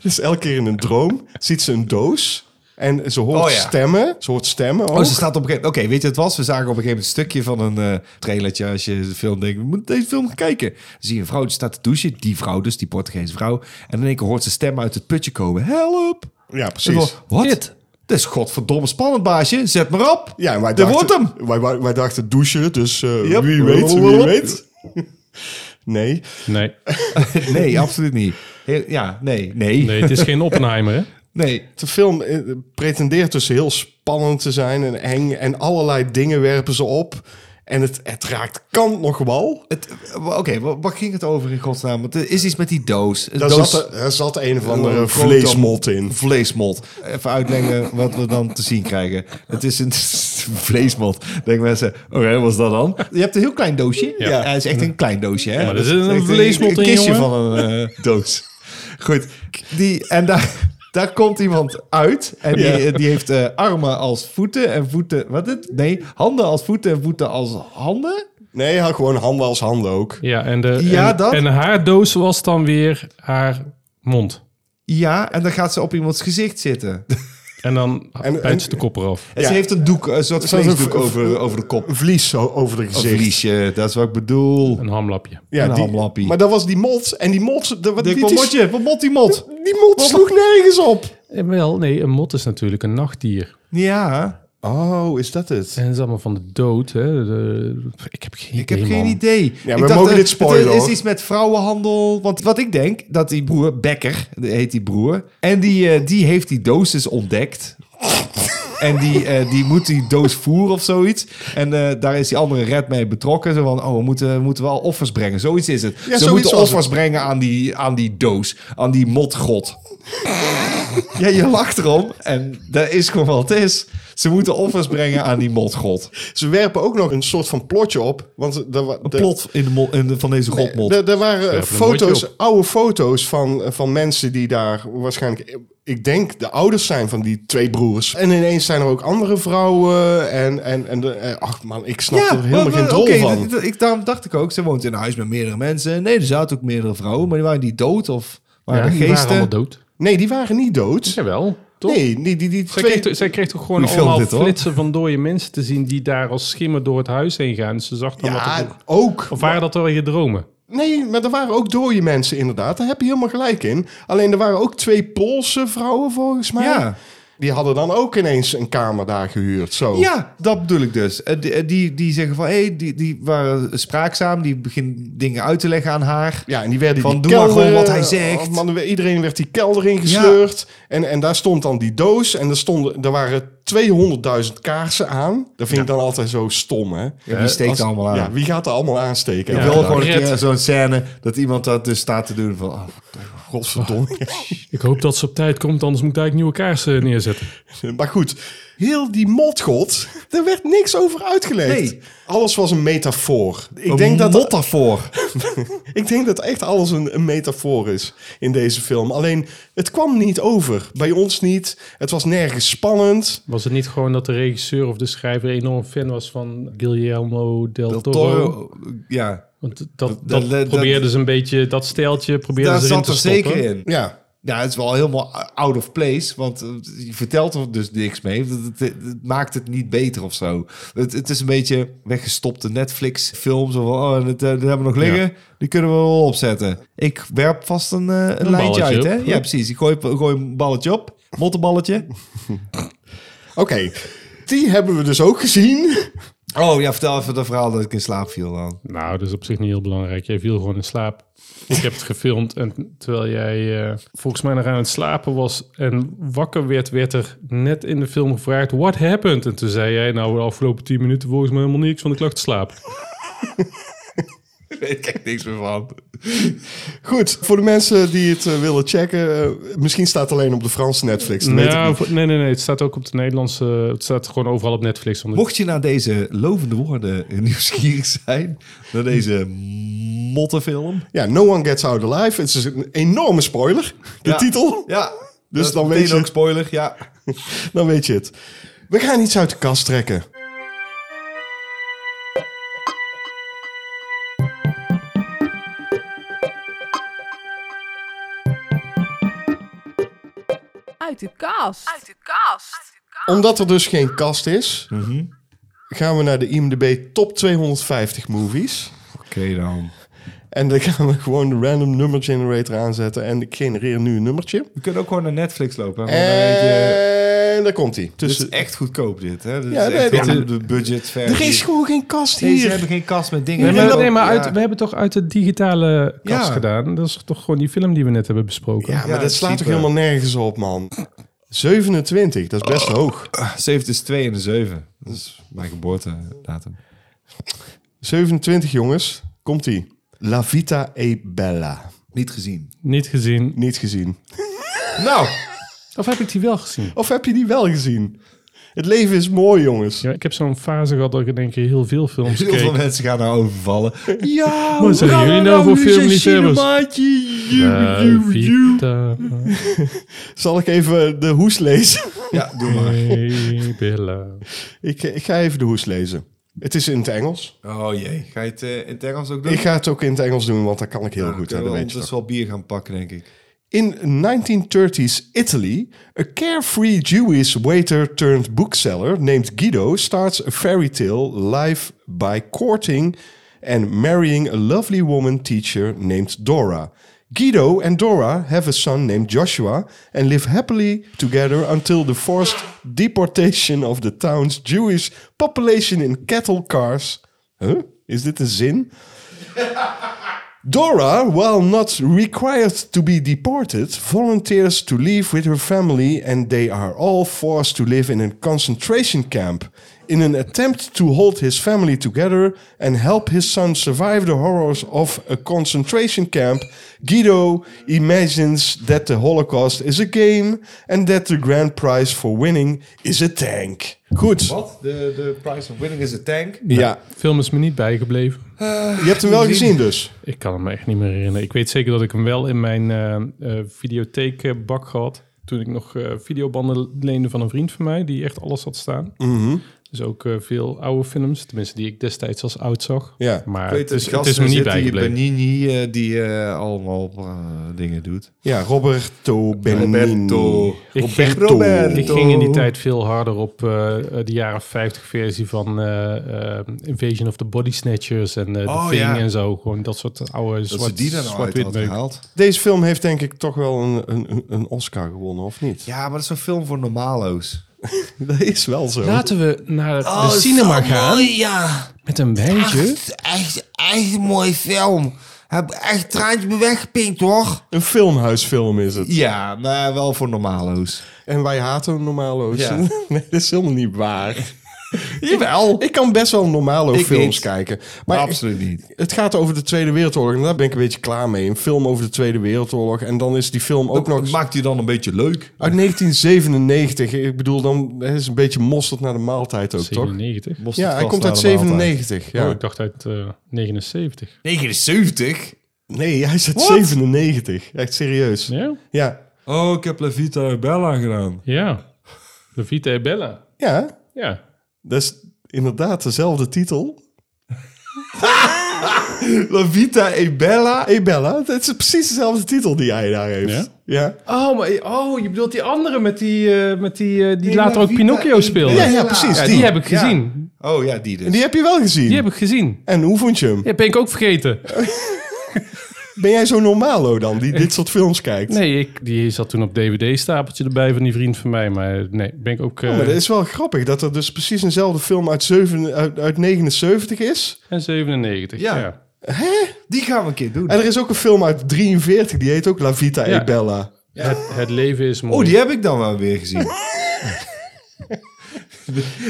S1: Dus elke keer in een droom ziet ze een doos en ze hoort
S2: Oh, ja.
S1: stemmen. Ze hoort stemmen ook.
S2: Oh, ze staat op een gegeven moment... Oké, weet je wat het was? We zagen op een gegeven moment een stukje van een eh trailertje. Als je de film denkt, we moeten deze film gaan kijken. Dan zie je een vrouw, die staat te douchen. Die vrouw dus, die Portugese vrouw. En in één keer hoort ze stem uit het putje komen. Help!
S1: Ja, precies.
S2: Ik dacht, Wat? Dat is godverdomme spannend, baasje. Zet maar op.
S1: Ja, en wij
S2: Dat wordt hem.
S1: Wij, wij, wij dachten douchen, dus eh,
S2: Yep.
S1: wie weet, wie weet. Nee,
S3: Nee.
S2: Nee, absoluut niet. Heel- ja, nee, nee, nee.
S3: nee, het is geen Oppenheimer, hè?
S1: de film eh, pretendeert dus heel spannend te zijn en eng en allerlei dingen werpen ze op. En het, het raakt kant nog wel.
S2: Het- eh, Oké, wa- waar ging het over in godsnaam? Want er is iets met die doos. Een
S1: Daar
S2: doos-
S1: zat, er zat een of andere
S2: Een
S1: vleesmot in.
S2: Vleesmot. eh, Even uitleggen wat we dan te zien krijgen. Het is een vleesmot. Denk mensen, oké, wat was dat dan? Je hebt een heel klein doosje. Ja, het is echt een klein doosje. Hè?
S3: Maar er zit
S2: Dat is
S3: een
S2: echt
S3: vleesmot
S2: een,
S3: in,
S2: kistje
S3: jongen.
S2: van een eh, doos. Goed. Die, en daar, daar komt iemand uit. En die,
S1: Ja.
S2: die heeft eh, armen als voeten en voeten... Wat het? Nee, handen als voeten en voeten als handen.
S1: Nee, hij had gewoon handen als handen ook.
S3: Ja, en, de,
S2: Ja,
S3: en,
S2: dat.
S3: en haar doos was dan weer haar mond.
S2: Ja, en dan gaat ze op iemands gezicht zitten.
S3: En dan
S1: En-
S3: bijt ze
S1: en-
S3: de kop eraf.
S2: En ze heeft een doek, een soort
S1: Zo'n
S2: vleesdoek
S1: v-
S2: over, over de kop.
S1: Een vlies zo over de gezicht.
S2: Een vliesje, dat is wat ik bedoel.
S3: Een hamlapje.
S1: Ja,
S2: Een
S1: die-
S2: hamlappie.
S1: Maar dat was die mot. En die mot... De, wat, die, die,
S2: wat mot die mot?
S1: die mot sloeg nergens op.
S3: En Eh, wel, nee, een mot is natuurlijk een nachtdier.
S2: Ja,
S1: Oh, is dat het?
S3: En het is allemaal van de dood, hè? De- ik heb geen
S2: ik heb
S3: idee,
S2: geen
S3: man.
S2: idee.
S1: we
S2: ik dacht,
S1: mogen
S2: eh,
S1: dit spoilen,
S2: Het is
S1: hoor.
S2: iets met vrouwenhandel. Want wat ik denk, dat die broer, Becker, die heet die broer. En die, eh, die heeft die dosis ontdekt. En die, eh, die moet die doos voer of zoiets. En eh, daar is die andere red mee betrokken. Zo van, oh, we moeten, moeten wel offers brengen. Zoiets is het. Ze
S1: zoiets
S2: moeten
S1: was
S2: offers brengen aan die, aan die doos. Aan die motgod. ja, je lacht erom. En dat is gewoon wat het is. Ze moeten offers brengen aan die motgod.
S1: Ze werpen ook nog een soort van plotje op. Want er, wa-
S2: Een
S1: er-
S2: plot in de mol- in de, van deze godmot.
S1: Er, er waren
S5: Werpen een plotje
S1: foto's, oude foto's van, van mensen die daar waarschijnlijk, ik denk, de ouders zijn van die twee broers. En ineens zijn er ook andere vrouwen. En, en, en de, eh, ach man, ik snap er helemaal
S2: maar-
S1: geen
S2: maar-
S1: dol
S2: eh, oké,
S1: van.
S2: d- d- ik, daarom dacht ik ook, ze woont in een huis met meerdere mensen. Nee, er zaten ook meerdere vrouwen, maar die waren die dood of waren
S3: Ja,
S2: er
S3: die waren
S2: geesten?
S3: allemaal dood.
S1: Nee, die waren niet dood.
S3: Jawel, toch?
S1: Nee, die, die, die
S3: Zij,
S1: twee...
S3: kreeg, toch- zij kreeg toch gewoon
S2: Wie filmt
S3: allemaal
S2: dit, hoor?
S3: flitsen van dode mensen te zien die daar als schimmen door het huis heen gaan. Dus ze zag dan wat er...
S1: Ja, ook.
S3: Of waren dat wel je dromen?
S1: Nee, maar er waren ook dode mensen inderdaad. Daar heb je helemaal gelijk in. Alleen er waren ook twee Poolse vrouwen volgens mij.
S2: Ja.
S1: Die hadden dan ook ineens een kamer daar gehuurd. Zo.
S2: Ja, dat bedoel ik dus. Eh, Die, eh, die, die zeggen van, hé, hey, die, die waren spraakzaam. Die beginnen dingen uit te leggen aan haar.
S1: Ja, en die werden
S2: Van,
S1: die
S2: doe maar
S1: kelder-
S2: gewoon wat hij zegt.
S1: Oh, man, iedereen werd die kelder ingesleurd. En, en daar stond dan die doos. En er, stonden, er waren 200.000 kaarsen aan. Dat vind ik dan altijd zo stom, hè?
S2: Ja, wie steekt
S1: Als-
S2: er allemaal aan?
S1: Ja, wie gaat er allemaal aansteken?
S2: Ik
S1: Ja,
S2: wil
S1: dan-
S2: gewoon een
S3: Red.
S2: keer zo'n scène dat iemand dat dus staat te doen van... Oh,
S1: Godverdomme.
S3: Ik hoop dat ze op tijd komt, anders moet ik eigenlijk nieuwe kaarsen neerzetten.
S1: maar goed, heel die motgod, daar werd niks over uitgelegd.
S2: Nee.
S1: Alles was een metafoor. Ik
S2: een
S1: denk dat
S2: metafoor.
S1: Ik denk dat echt alles een, een metafoor is in deze film. Alleen, het kwam niet over. Bij ons niet. Het was nergens spannend.
S3: Was het niet gewoon dat de regisseur of de schrijver enorm fan was van Guillermo del,
S2: Del
S3: Toro?
S2: Toro, ja,
S3: Want dat, dat,
S2: dat- dat-
S3: probeerde ze een beetje, dat steltje probeerde
S2: daar
S3: ze erin
S2: zat
S3: te
S2: er
S3: stoppen.
S2: zeker in.
S1: Ja,
S2: Ja, het is wel helemaal out of place, want eh, je vertelt er dus niks mee. Het, het- het- het maakt het niet beter of zo. Het, het is een beetje weggestopte Netflix-films. Of, oh, dat, eh, dat hebben we nog liggen, die kunnen we wel opzetten. Ik werp vast een, eh, een, lijntje
S3: balletje
S2: uit,
S3: op.
S2: hè? Ja, precies. Ik gooi, gooi een balletje op, mottenballetje.
S1: oké. Die hebben we dus ook gezien.
S2: Oh ja, vertel even dat verhaal dat ik in slaap viel dan.
S3: Nou, dat is op zich niet heel belangrijk. Jij viel gewoon in slaap. Ik heb het gefilmd en terwijl jij eh, volgens mij nog aan het slapen was en wakker werd, werd er net in de film gevraagd, what happened? En toen zei jij, nou, de afgelopen tien minuten volgens mij helemaal niks, want ik lag te slapen.
S2: Ik weet echt niks meer van.
S1: Goed, voor de mensen die het eh, willen checken, eh, misschien staat het alleen op de Franse Netflix. Dat weet ik
S3: Nou,
S1: niet.
S3: voor- nee, nee, nee. Het staat ook op de Nederlandse. Het staat gewoon overal op Netflix. want het-
S2: Mocht je naar deze lovende woorden nieuwsgierig zijn, naar deze mottenfilm...
S1: Ja, No One Gets Out Alive. Het is een enorme spoiler, de
S2: Ja.
S1: titel.
S2: Ja,
S1: Dus
S2: dat is
S1: dan weet
S2: meteen
S1: je-
S2: ook spoiler, ja.
S1: Dan weet je het. We gaan iets uit de kast trekken.
S8: Uit de kast. Uit de kast.
S1: Omdat er dus geen kast is,
S2: Mhm.
S1: gaan we naar de IMDb Top 250 Movies.
S2: Oké dan.
S1: En dan gaan we gewoon de random number generator aanzetten. En ik genereer nu een nummertje.
S2: We kunnen ook gewoon naar Netflix lopen. hè, want dan weet je-
S1: En daar komt hij.
S2: Dit
S1: Eh, Dus
S2: is echt goedkoop dit, hè? Dit
S1: Ja,
S2: is
S1: nee,
S2: echt
S1: dit-
S2: wel de budget
S1: er is gewoon geen kast
S2: Nee, ze
S1: hier.
S2: hebben geen kast met dingen.
S3: Nee, maar,
S2: erin.
S3: nee, maar uit,
S2: Ja.
S3: we hebben toch uit de digitale kast
S2: Ja.
S3: gedaan. Dat is toch gewoon die film die we net hebben besproken.
S1: Ja, maar
S2: Ja,
S1: dat slaat toch
S2: super.
S1: helemaal nergens op, man. 27, dat is best hoog.
S2: 7 is 2 en de 7. Dat is mijn geboortedatum.
S1: 27, jongens. Komt-ie. La Vita e Bella.
S2: Niet gezien.
S3: Niet gezien.
S1: Niet gezien.
S2: Nou,
S3: Of heb ik die wel gezien?
S1: Of heb je die wel gezien? Het leven is mooi, jongens.
S3: Ja, ik heb zo'n fase gehad dat ik in één keer heel veel films
S2: heel veel
S3: keek.
S2: mensen gaan nou overvallen. Ja,
S3: Wat zeggen jullie nou voor filmliefhebbers?
S2: Ja,
S3: Eh, Vita,
S1: Zal ik even de hoes lezen?
S2: ja, doe maar.
S3: eh, Bella.
S1: ik, ik ga even de hoes lezen. Het is in het Engels.
S2: Oh jee, ga je het eh, in het Engels ook doen?
S1: Ik ga het ook in het Engels doen, want dat kan ik heel
S2: Nou,
S1: goed. hè,
S2: kunnen
S1: Dat
S2: we
S1: weet je
S2: ondertussen
S1: toch.
S2: wel bier gaan pakken, denk ik.
S1: In 1930s Italy, a carefree Jewish waiter turned bookseller named Guido starts a fairy tale life by courting and marrying a lovely woman teacher named Dora. Guido and Dora have a son named Joshua and live happily together until the forced deportation of the town's Jewish population in cattle cars. Huh? Is dit een zin? Dora, while not required to be deported, volunteers to leave with her family and they are all forced to live in a concentration camp. In an attempt to hold his family together and help his son survive the horrors of a concentration camp, Guido imagines that the Holocaust is a game and that the grand prize for winning is a tank. Goed.
S2: Wat? De, de price of winning is a tank?
S1: Ja,
S3: Film is me niet bijgebleven.
S1: je hebt hem wel gezien dus.
S3: Ik kan hem echt niet meer herinneren. Ik weet zeker dat ik hem wel in mijn eh, eh, videotheekbak had. Toen ik nog eh, videobanden leende van een vriend van mij, die echt alles had staan.
S2: Mhm.
S3: Dus ook eh, veel oude films, tenminste die ik destijds als oud zag.
S1: Ja,
S3: maar
S2: Ik weet
S3: het
S2: dat
S3: is,
S2: die
S3: het
S2: gast
S3: is me
S2: er
S3: niet
S2: zit, die
S3: bijgebleven.
S2: Benigni eh, die eh, allemaal eh, dingen doet.
S1: Ja, Roberto Benigni.
S2: Roberto.
S3: Ik ging,
S1: Roberto.
S3: ik ging in die tijd veel harder op eh, eh, de jaren 50 versie van eh, eh, Invasion of the Body Snatchers en eh The
S2: Oh,
S3: Thing
S2: ja.
S3: en zo. Gewoon dat soort oude
S2: Dat
S3: zwart,
S2: ze die dan nou uit
S3: zwart-wit
S2: had
S3: meuk.
S2: gehaald.
S1: Deze film heeft denk ik toch wel een, een, een Oscar gewonnen, of niet?
S2: Ja, maar dat is een film voor normalo's.
S1: dat is wel zo.
S3: Laten we naar
S2: Oh,
S1: oh,
S3: de cinema gaan
S2: ja.
S3: met een wijntje.
S2: Echt, echt een mooie film. Heb echt traantje me weggepinkt, hoor.
S1: Een filmhuisfilm is het.
S2: Ja, maar wel voor normalo's.
S1: En wij haten hem normalo's.
S2: Ja.
S1: nee, dat is helemaal niet waar. Jawel. Ik kan best wel normalo
S2: Ik
S1: films
S2: niet.
S1: kijken.
S2: Maar
S1: Maar
S2: absoluut niet.
S1: het gaat over de Tweede Wereldoorlog. En daar ben ik een beetje klaar mee. Een film over de Tweede Wereldoorlog. En dan is die film ook nog... eens-
S2: Maakt hij dan een beetje leuk?
S1: Uit 1997. Ik bedoel, dan is een beetje mosterd naar de maaltijd ook, toch?
S3: 97.
S1: Ja, hij komt uit 97.
S3: Ja.
S1: Ja.
S3: ik dacht uit eh, 79.
S2: 79?
S1: Nee, hij is uit 97. Echt serieus.
S3: Ja?
S1: Ja.
S2: Oh, ik heb La Vita Bella gedaan.
S3: Ja. De Vita e Bella.
S1: Ja,
S3: Ja.
S1: dat is inderdaad dezelfde titel. La Vita e Bella. E Bella, dat is precies dezelfde titel die hij daar heeft.
S3: Ja?
S1: Ja?
S3: Oh, maar, oh, je bedoelt die andere met die, eh, met die, eh, die
S2: Nee,
S3: later
S2: La
S3: ook
S2: Vita
S3: Pinocchio
S2: e
S3: speelde.
S1: Ja,
S2: Bella.
S1: ja, precies.
S3: Ja,
S1: die.
S3: die heb ik
S2: Ja.
S3: gezien.
S2: Oh ja, die dus.
S1: Die heb je wel gezien.
S3: Die heb ik gezien.
S1: En hoe vond je hem?
S3: Ja, ben ik ook vergeten.
S1: Ben jij zo normalo dan, die dit soort films kijkt?
S3: Nee, ik, die zat toen op DVD-stapeltje erbij van die vriend van mij. Maar nee, ben ik ook... eh,
S1: Oh, maar dat is wel grappig dat er dus precies eenzelfde film uit, zeven, uit, uit 79 is.
S3: En 97, ja.
S2: Ja.
S3: ja.
S2: Die gaan we een keer doen.
S1: En er is ook een film uit 43, die heet ook La Vita
S3: Ja.
S1: e Bella.
S3: Het, het leven is mooi.
S2: Oh, die heb ik dan wel weer gezien.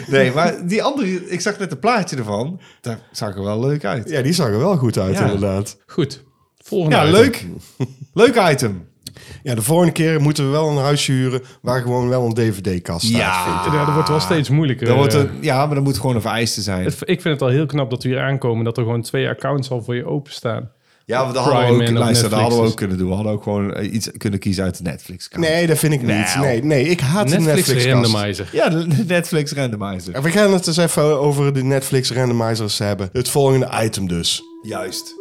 S2: nee, maar die andere, ik zag net een plaatje ervan. Daar zag er wel leuk uit.
S1: Ja, die zag er wel goed uit,
S2: Ja.
S1: inderdaad.
S3: Goed. Volgende
S2: Ja,
S3: item.
S2: leuk. Leuk item.
S1: Ja, de volgende keer moeten we wel een huisje huren waar gewoon wel een dvd-kast staat. vind ik.
S3: Ja, dat wordt wel steeds moeilijker.
S2: Dan wordt
S3: eh.
S2: het, ja, maar dat moet gewoon een vereiste zijn.
S3: Het- ik vind het al heel knap dat we hier aankomen... dat er gewoon twee accounts al voor je openstaan.
S2: Ja, want dat
S3: Prime
S2: hadden we ook,
S3: en op
S2: luister, dat
S3: Netflix
S2: hadden we
S3: is-
S2: ook kunnen doen. We hadden ook gewoon eh, iets kunnen kiezen uit de netflix -kant.
S1: Nee, dat vind ik niet.
S2: Nou.
S1: Nee, nee, ik haat de
S3: Netflix,
S1: Netflix-kast.
S3: Randomizer.
S2: Ja, de Netflix randomizer.
S1: En we gaan het eens even over de Netflix randomizers hebben. Het volgende item dus.
S2: Juist.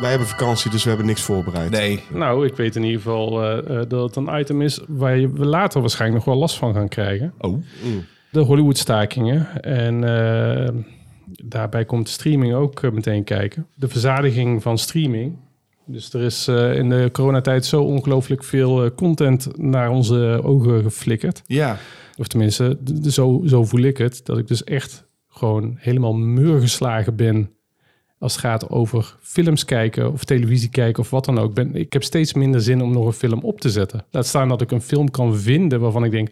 S1: Wij hebben vakantie, dus we hebben niks voorbereid.
S2: Nee.
S3: Nou, ik weet in ieder geval eh, eh, dat het een item is... waar je- we later waarschijnlijk nog wel last van gaan krijgen.
S2: Oh.
S3: De Hollywood-stakingen. En eh, daarbij komt de streaming ook eh, meteen kijken. De verzadiging van streaming. Dus er is eh, in de coronatijd zo ongelooflijk veel eh, content naar onze ogen geflikkerd.
S2: Ja.
S3: Of tenminste, d- d- zo, zo voel ik het. Dat ik dus echt gewoon helemaal meurgeslagen ben als het gaat over films kijken of televisie kijken of wat dan ook. Ben, ik heb steeds minder zin om nog een film op te zetten. Laat staan dat ik een film kan vinden waarvan ik denk...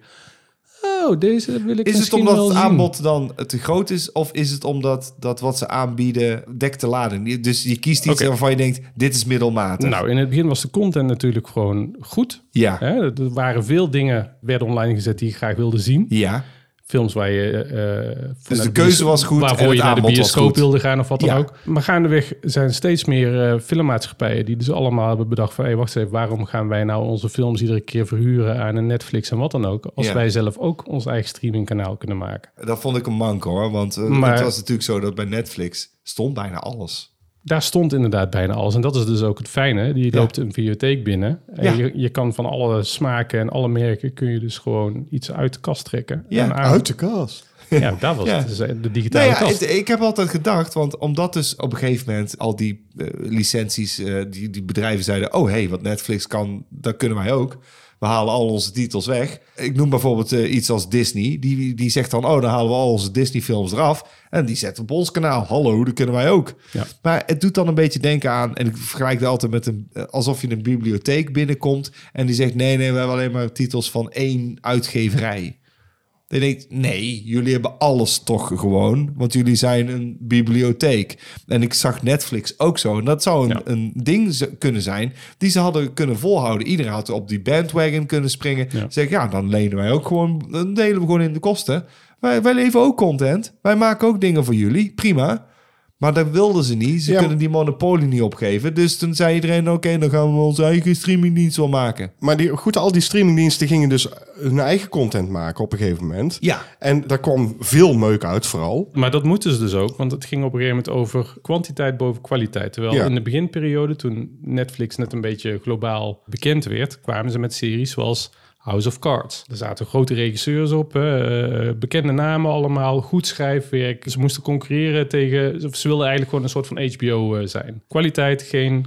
S3: Oh, deze wil ik
S2: Is het
S3: misschien
S2: omdat
S3: wel
S2: het
S3: zien.
S2: aanbod dan te groot is? Of is het omdat dat wat ze aanbieden dekt de lading? Dus je kiest iets
S3: Oké.
S2: waarvan je denkt, dit is middelmatig.
S3: Nou, in het begin was de content natuurlijk gewoon goed.
S2: Ja.
S3: Hè, er waren veel dingen, werden online gezet die ik graag wilde zien.
S2: Ja.
S3: Films waar je... eh, eh,
S2: Dus de keuze
S3: naar bios-
S2: was goed en
S3: Waarvoor
S2: het
S3: je naar de
S2: aanbod was
S3: bioscoop
S2: goed.
S3: wilde gaan of wat dan
S2: Ja.
S3: ook. Maar gaandeweg zijn steeds meer eh, filmmaatschappijen... die dus allemaal hebben bedacht van... hé, wacht eens even, waarom gaan wij nou onze films iedere keer verhuren... aan een Netflix en wat dan ook... als
S2: Ja.
S3: wij zelf ook ons eigen streamingkanaal kunnen maken.
S2: Dat vond ik een mank hoor. Want eh,
S3: Maar-
S2: het was natuurlijk zo dat bij Netflix stond bijna alles.
S3: daar stond inderdaad bijna alles. En dat is dus ook het fijne. Je loopt een bibliotheek binnen. En
S2: Ja.
S3: je, je kan van alle smaken en alle merken... kun je dus gewoon iets uit de kast trekken.
S2: Ja,
S3: En aan-
S1: Uit de kast.
S3: Ja, dat was
S2: Ja.
S3: het. Dus de
S2: Nou
S3: digitale
S2: ja,
S3: kast.
S2: het- ik heb altijd gedacht, want omdat dus op een gegeven moment al die eh, licenties, eh, die, die bedrijven zeiden, oh hé, hey, wat Netflix kan, dat kunnen wij ook. we halen al onze titels weg. Ik noem bijvoorbeeld eh, iets als Disney. Die, die zegt dan, oh, dan halen we al onze Disney-films eraf. En die zetten op ons kanaal. Hallo, dat kunnen wij ook.
S3: Ja.
S2: Maar het doet dan een beetje denken aan... en ik vergelijk dat altijd met een... eh, alsof je een bibliotheek binnenkomt... en die zegt, nee, nee, we hebben alleen maar titels van één uitgeverij. Die denkt, nee, jullie hebben alles toch gewoon. Want jullie zijn een bibliotheek. En ik zag Netflix ook zo. En dat zou een,
S3: Ja.
S2: een ding z- kunnen zijn die ze hadden kunnen volhouden. Iedereen had op die bandwagon kunnen springen.
S3: Ja.
S2: Zeg, ja, dan lenen wij ook gewoon, dan delen we gewoon in de kosten. Wij, wij leveren ook content. Wij maken ook dingen voor jullie. Prima. Maar dat wilden ze niet. Ze
S1: Ja,
S2: kunnen die monopolie niet opgeven. Dus toen zei iedereen, oké, dan gaan we onze eigen streamingdienst wel maken.
S1: Maar die, goed, al die streamingdiensten gingen dus hun eigen content maken op een gegeven moment.
S2: Ja.
S1: En daar kwam veel meuk uit vooral.
S3: Maar dat moeten ze dus ook, want het ging op een gegeven moment over kwantiteit boven kwaliteit. Terwijl
S1: Ja.
S3: in de beginperiode, toen Netflix net een beetje globaal bekend werd, kwamen ze met series zoals House of Cards. Er zaten grote regisseurs op, hè, eh, bekende namen allemaal, goed schrijfwerk. Ze moesten concurreren tegen, of ze wilden eigenlijk gewoon een soort van HBO eh, zijn. Kwaliteit, geen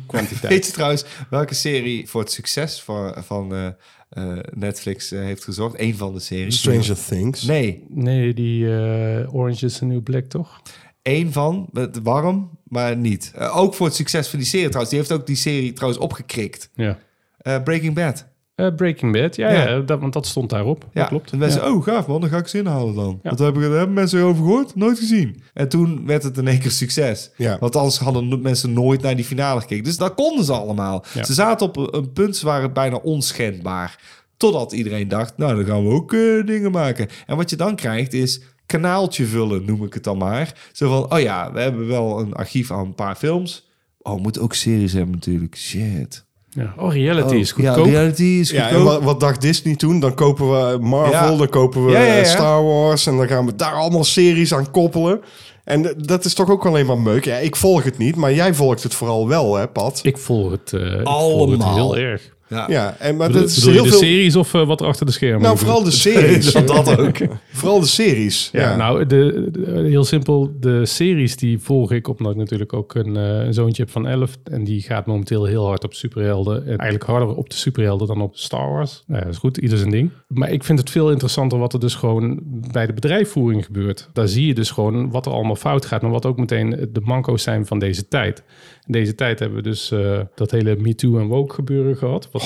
S3: kwantiteit.
S2: Weet je trouwens welke serie voor het succes van, van eh, eh, Netflix eh, heeft gezorgd? Eén van de series.
S1: Stranger Things.
S2: Nee,
S3: Nee, die eh, Orange is the New Black, toch?
S2: één van. Met warm, maar niet. Eh, ook voor het succes van die serie trouwens. Die heeft ook die serie trouwens opgekrikt.
S3: Ja.
S2: Eh, Breaking Bad.
S3: Eh, Breaking Bad, ja,
S2: Ja.
S3: ja. dat, want dat stond daarop.
S2: Ja,
S3: dat klopt.
S2: En mensen,
S3: Ja.
S2: oh gaaf man, dan ga ik ze inhalen dan. Dat hebben, daar hebben mensen over gehoord, nooit gezien. En toen werd het in één keer succes.
S1: Ja.
S2: Want anders hadden no- mensen nooit naar die finale gekeken. Dus dat konden ze allemaal.
S3: Ja.
S2: Ze zaten op een- een punt, ze waren bijna onschendbaar. Totdat iedereen dacht, nou dan gaan we ook eh, dingen maken. En wat je dan krijgt is kanaaltje vullen, noem ik het dan maar. Zo van, oh ja, we hebben wel een archief aan een paar films. Oh, we moeten ook series hebben natuurlijk. Shit.
S3: Ja. Oh, reality is
S2: ja,
S3: goedkoop.
S2: reality is
S1: Ja,
S2: goedkoop.
S1: en wat, wat dacht Disney toen? Dan kopen we Marvel,
S2: Ja.
S1: dan kopen we
S2: Ja, ja, ja.
S1: eh, Star Wars... en dan gaan we daar allemaal series aan koppelen. En d- dat is toch ook alleen maar meuk. Ja, ik volg het niet, maar jij volgt het vooral wel, hè, Pat?
S3: Ik volg het, eh, ik volg het
S2: Allemaal.
S3: heel erg.
S1: Ja, en, maar
S3: Bedoel,
S1: dat is
S3: bedoel je
S1: heel
S3: de
S1: veel...
S3: series of eh, wat er achter de schermen
S1: Nou,
S3: gebeurt?
S1: vooral de series.
S2: dat ook.
S1: Vooral de series.
S3: Ja, nou, de, de- heel simpel. De series die volg ik, omdat ik natuurlijk ook een, eh, een zoontje heb van 11. En die gaat momenteel heel hard op superhelden. En eigenlijk harder op de superhelden dan op Star Wars. Nou, ja, dat is goed, ieder zijn ding. Maar ik vind het veel interessanter wat er dus gewoon bij de bedrijfvoering gebeurt. Daar zie je dus gewoon wat er allemaal fout gaat. Maar wat ook meteen de manco's zijn van deze tijd. In deze tijd hebben we dus eh, dat hele Me Too en woke gebeuren gehad. Wat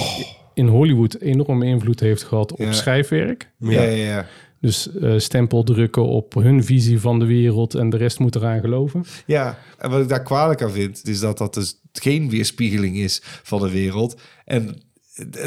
S3: in Hollywood enorme invloed heeft gehad op
S2: Oh. Ja.
S3: schrijfwerk.
S2: ja, ja, ja.
S3: Dus eh, stempel drukken op hun visie van de wereld en de rest moet eraan geloven.
S2: Ja, en wat ik daar kwalijk aan vind, is dat dat dus geen weerspiegeling is van de wereld. En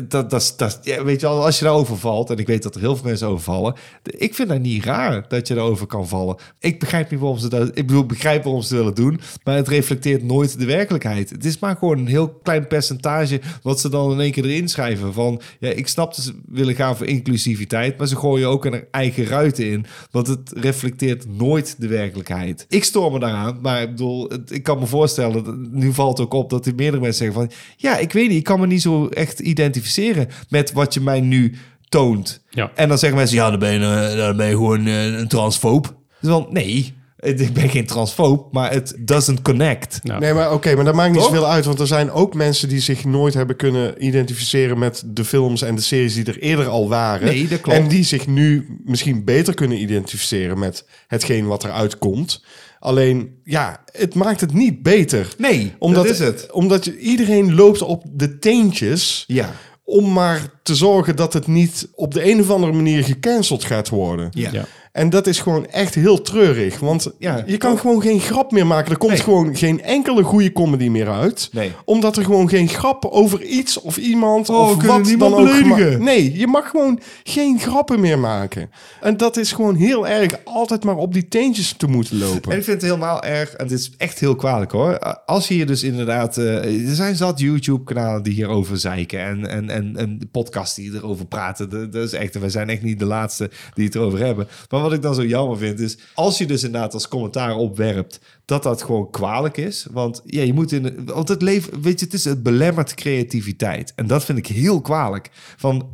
S2: dat, dat, is- dat, is- ja, weet je wel, als je daarover valt, en ik weet dat er heel veel mensen over vallen, ik vind dat niet raar dat je daarover kan vallen. Ik begrijp niet waarom ze dat, ik bedoel, ik begrijp waarom ze het willen doen, maar het reflecteert nooit de werkelijkheid. Het is maar gewoon een heel klein percentage wat ze dan in één keer erin schrijven. Van ja, ik snap dat ze willen gaan voor inclusiviteit, maar ze gooien ook een eigen ruiten in, want het reflecteert nooit de werkelijkheid. Ik stoor me daaraan, maar ik bedoel, het- ik kan me voorstellen, dat- nu valt ook op dat er meerdere mensen zeggen van ja, ik weet niet, ik kan me niet zo echt identificeren met wat je mij nu toont.
S3: Ja.
S2: En dan zeggen mensen, ja, dan ben je, eh, dan ben je gewoon eh, een transfoob. Dus dan, nee, het- ik ben geen transfoob, maar het doesn't connect.
S3: Nou,
S1: Nee, maar oké, maar dat maakt niet
S2: Toch?
S1: zoveel uit. Want er zijn ook mensen die zich nooit hebben kunnen identificeren met de films en de series die er eerder al waren.
S2: Nee, dat klopt.
S1: En die zich nu misschien beter kunnen identificeren met hetgeen wat eruit komt. Alleen, ja, het maakt het niet beter.
S2: Nee, dat is het.
S1: Omdat je- iedereen loopt op de teentjes
S2: Ja,
S1: om maar te zorgen dat het niet op de een of andere manier gecanceld gaat worden.
S2: ja.
S3: ja.
S1: En dat is gewoon echt heel treurig. Want
S2: Ja.
S1: je kan gewoon geen grap meer maken. Er komt
S2: Nee.
S1: gewoon geen enkele goede comedy meer uit.
S2: Nee.
S1: Omdat er gewoon geen grap over iets of iemand
S2: we
S1: of
S2: kunnen
S1: wat
S2: niemand
S1: dan ook gema-
S2: beledigen.
S1: Nee, je mag gewoon geen grappen meer maken. En dat is gewoon heel erg altijd maar op die teentjes te moeten lopen.
S2: En ik vind het helemaal erg, en dit is echt heel kwalijk hoor. Als je hier dus inderdaad, eh, er zijn zat YouTube-kanalen die hierover zeiken en, en, en, en podcasts die erover praten. Dat, dat is echt, we zijn echt niet de laatste die het erover hebben. Maar wat ik dan zo jammer vind is, als je dus inderdaad als commentaar opwerpt dat dat gewoon kwalijk is. Want ja, je moet in. Want het leven, weet je, het is het belemmert creativiteit. En dat vind ik heel kwalijk. Van,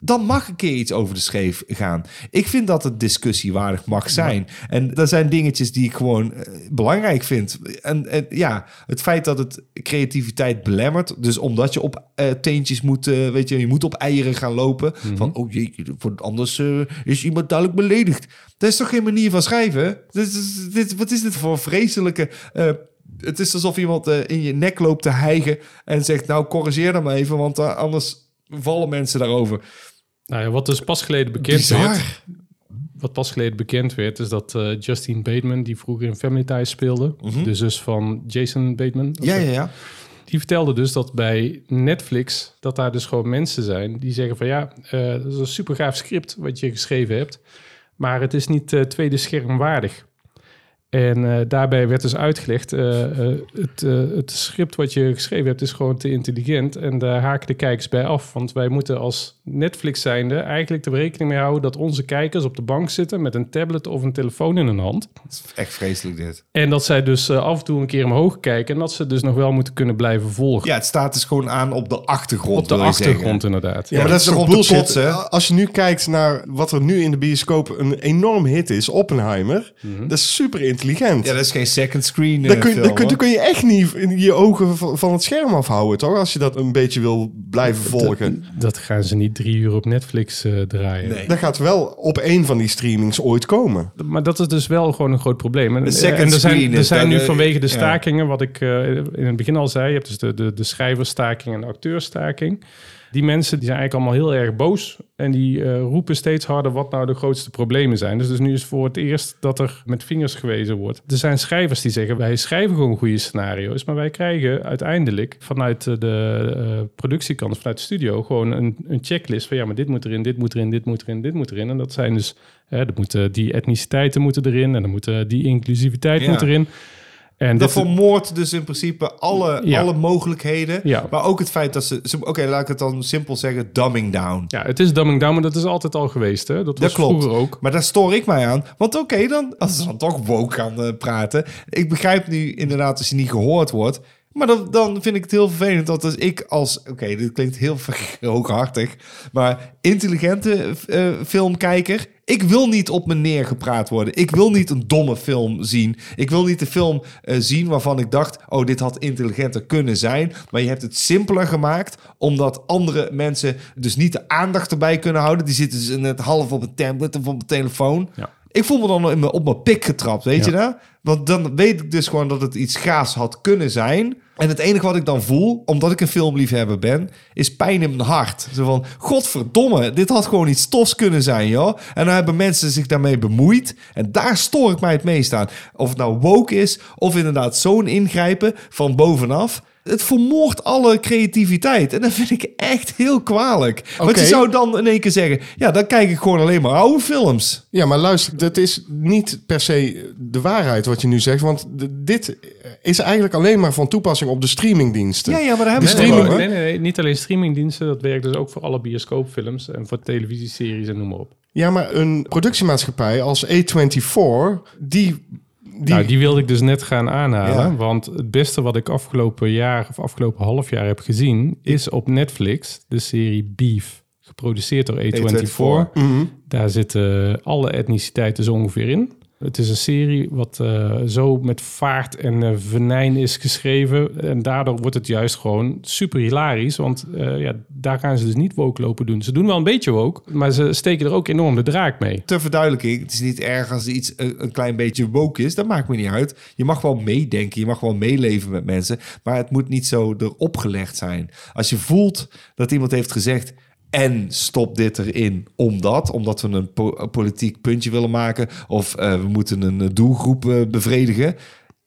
S2: dan mag een keer iets over de scheef gaan. Ik vind dat het discussiewaardig mag zijn. En dat zijn dingetjes die ik gewoon eh, belangrijk vind. En, en ja, het feit dat het creativiteit belemmert. Dus omdat je op eh, teentjes moet, eh, weet je, je moet op eieren gaan lopen. Van, oh jee, voor- anders eh, is iemand duidelijk beledigd. Dat is toch geen manier van schrijven? Dit is, dit, wat is dit voor vreselijke... eh, het is alsof iemand eh, in je nek loopt te hijgen en zegt... nou, corrigeer dan maar even, want eh, anders vallen mensen daarover.
S3: Nou ja, wat dus pas geleden bekend
S2: Bizar.
S3: werd... Wat pas geleden bekend werd, is dat eh Justine Bateman, die vroeger in Family Ties speelde, de zus van Jason Bateman,
S2: Mhm. Ja, ja, ja.
S3: die vertelde dus dat bij Netflix, dat daar dus gewoon mensen zijn die zeggen van ja, eh, dat is een super gaaf script wat je geschreven hebt, maar het is niet eh, tweede scherm waardig. En eh, daarbij werd dus uitgelegd, eh, eh, het, eh, het script wat je geschreven hebt is gewoon te intelligent en daar haken de kijkers bij af. Want wij moeten als Netflix zijnde eigenlijk er rekening mee houden dat onze kijkers op de bank zitten met een tablet of een telefoon in hun hand.
S2: Echt vreselijk dit.
S3: En dat zij dus eh, af en toe een keer omhoog kijken en dat ze dus nog wel moeten kunnen blijven volgen.
S2: Ja, het staat dus gewoon aan op de achtergrond.
S3: Op de
S2: wil je zeggen.
S3: achtergrond inderdaad.
S2: Ja, maar dat is
S1: toch
S2: toch bullshit, hè?
S1: Als je nu kijkt naar wat er nu in de bioscoop een enorm hit is, Oppenheimer. Dat Mhm. is super intelligent.
S2: Ja, dat is geen second screen eh,
S1: Dan kun, je-
S2: film,
S1: dan, kun,
S2: hoor.
S1: dan kun je echt niet in je ogen van, van het scherm afhouden, toch? Als je dat een beetje wil blijven volgen.
S3: Dat gaan ze niet drie uur op Netflix eh, draaien.
S1: Dat gaat wel op één van die streamings ooit komen.
S3: Maar dat is dus wel gewoon een groot probleem. En, eh,
S2: De second
S3: en er
S2: screen
S3: zijn, er
S2: is
S3: zijn
S2: dan,
S3: nu
S2: eh,
S3: vanwege de
S2: ja.
S3: stakingen, wat ik eh, in het begin al zei, je hebt dus de, de, de schrijverstaking en de acteurstaking. Die mensen die zijn eigenlijk allemaal heel erg boos en die eh, roepen steeds harder wat nou de grootste problemen zijn. Dus, dus nu is voor het eerst dat er met vingers gewezen wordt. Er zijn schrijvers die zeggen wij schrijven gewoon goede scenario's, maar wij krijgen uiteindelijk vanuit eh, de eh, productiekant, vanuit de studio, gewoon een, een checklist van ja, maar dit moet erin, dit moet erin, dit moet erin, dit moet erin. En dat zijn dus, hè, dat moeten, die etniciteiten moeten erin en dan moeten die inclusiviteit
S2: Ja.
S3: moet erin. En
S2: Dat
S3: dit,
S2: vermoordt dus in principe alle,
S3: Ja.
S2: alle mogelijkheden.
S3: Ja.
S2: Maar ook het feit dat ze... ze- Oké, laat ik het dan simpel zeggen. Dumbing down.
S3: ja, het is dumbing down, maar dat is altijd al geweest. Hè? Dat was
S2: Dat klopt.
S3: vroeger ook.
S2: Maar daar stoor ik mij aan. Want oké, dan als ze dan toch woke gaan eh, praten. Ik begrijp nu inderdaad als je niet gehoord wordt. Maar dan, dan vind ik het heel vervelend dat als ik als... Oké, dit klinkt heel ver- hooghartig. Maar intelligente eh, filmkijker... Ik wil niet op me neergepraat worden. Ik wil niet een domme film zien. Ik wil niet de film eh, zien waarvan ik dacht... oh, dit had intelligenter kunnen zijn. Maar je hebt het simpeler gemaakt... omdat andere mensen dus niet de aandacht erbij kunnen houden. Die zitten dus net half op een tablet of op een telefoon.
S3: Ja.
S2: Ik voel me dan in mijn- op mijn pik getrapt, weet
S3: Ja.
S2: je dat? Want dan weet ik dus gewoon dat het iets gaafs had kunnen zijn. En het enige wat ik dan voel, omdat ik een filmliefhebber ben, is pijn in mijn hart. Zo van, godverdomme, dit had gewoon iets tofs kunnen zijn, joh. En dan hebben mensen zich daarmee bemoeid. En daar stoor ik mij het meest aan. Of het nou woke is, of inderdaad zo'n ingrijpen van bovenaf. Het vermoordt alle creativiteit. En dat vind ik echt heel kwalijk. Want je
S1: Oké.
S2: zou dan in één keer zeggen... ja, dan kijk ik gewoon alleen maar oude films.
S1: Ja, maar luister, dat is niet per se de waarheid wat je nu zegt. Want d- dit is eigenlijk alleen maar van toepassing op de streamingdiensten.
S2: Ja, ja, maar daar
S1: Die
S2: hebben we
S1: streaming,
S2: het
S1: hè?
S3: nee, nee, nee, niet alleen streamingdiensten. Dat werkt dus ook voor alle bioscoopfilms en voor televisieseries en noem maar op.
S1: Ja, maar een productiemaatschappij als A24, die... die,
S3: Nou, die wilde ik dus net gaan aanhalen.
S2: Ja.
S3: Want het beste wat ik afgelopen jaar of afgelopen half jaar heb gezien... is op Netflix de serie Beef. Geproduceerd door A24.
S2: A24.
S1: Mhm.
S3: Daar zitten alle etniciteiten zo ongeveer in. Het is een serie wat eh, zo met vaart en eh, venijn is geschreven. En daardoor wordt het juist gewoon super hilarisch. Want eh, ja, daar gaan ze dus niet woke lopen doen. Ze doen wel een beetje woke, maar ze steken er ook enorm de draak mee.
S2: ter verduidelijking, het is niet erg als iets een, een klein beetje woke is. Dat maakt me niet uit. Je mag wel meedenken, je mag wel meeleven met mensen, maar het moet niet zo erop gelegd zijn. Als je voelt dat iemand heeft gezegd en stop dit erin omdat, omdat we een po- een politiek puntje willen maken of eh, we moeten een eh, doelgroep eh, bevredigen.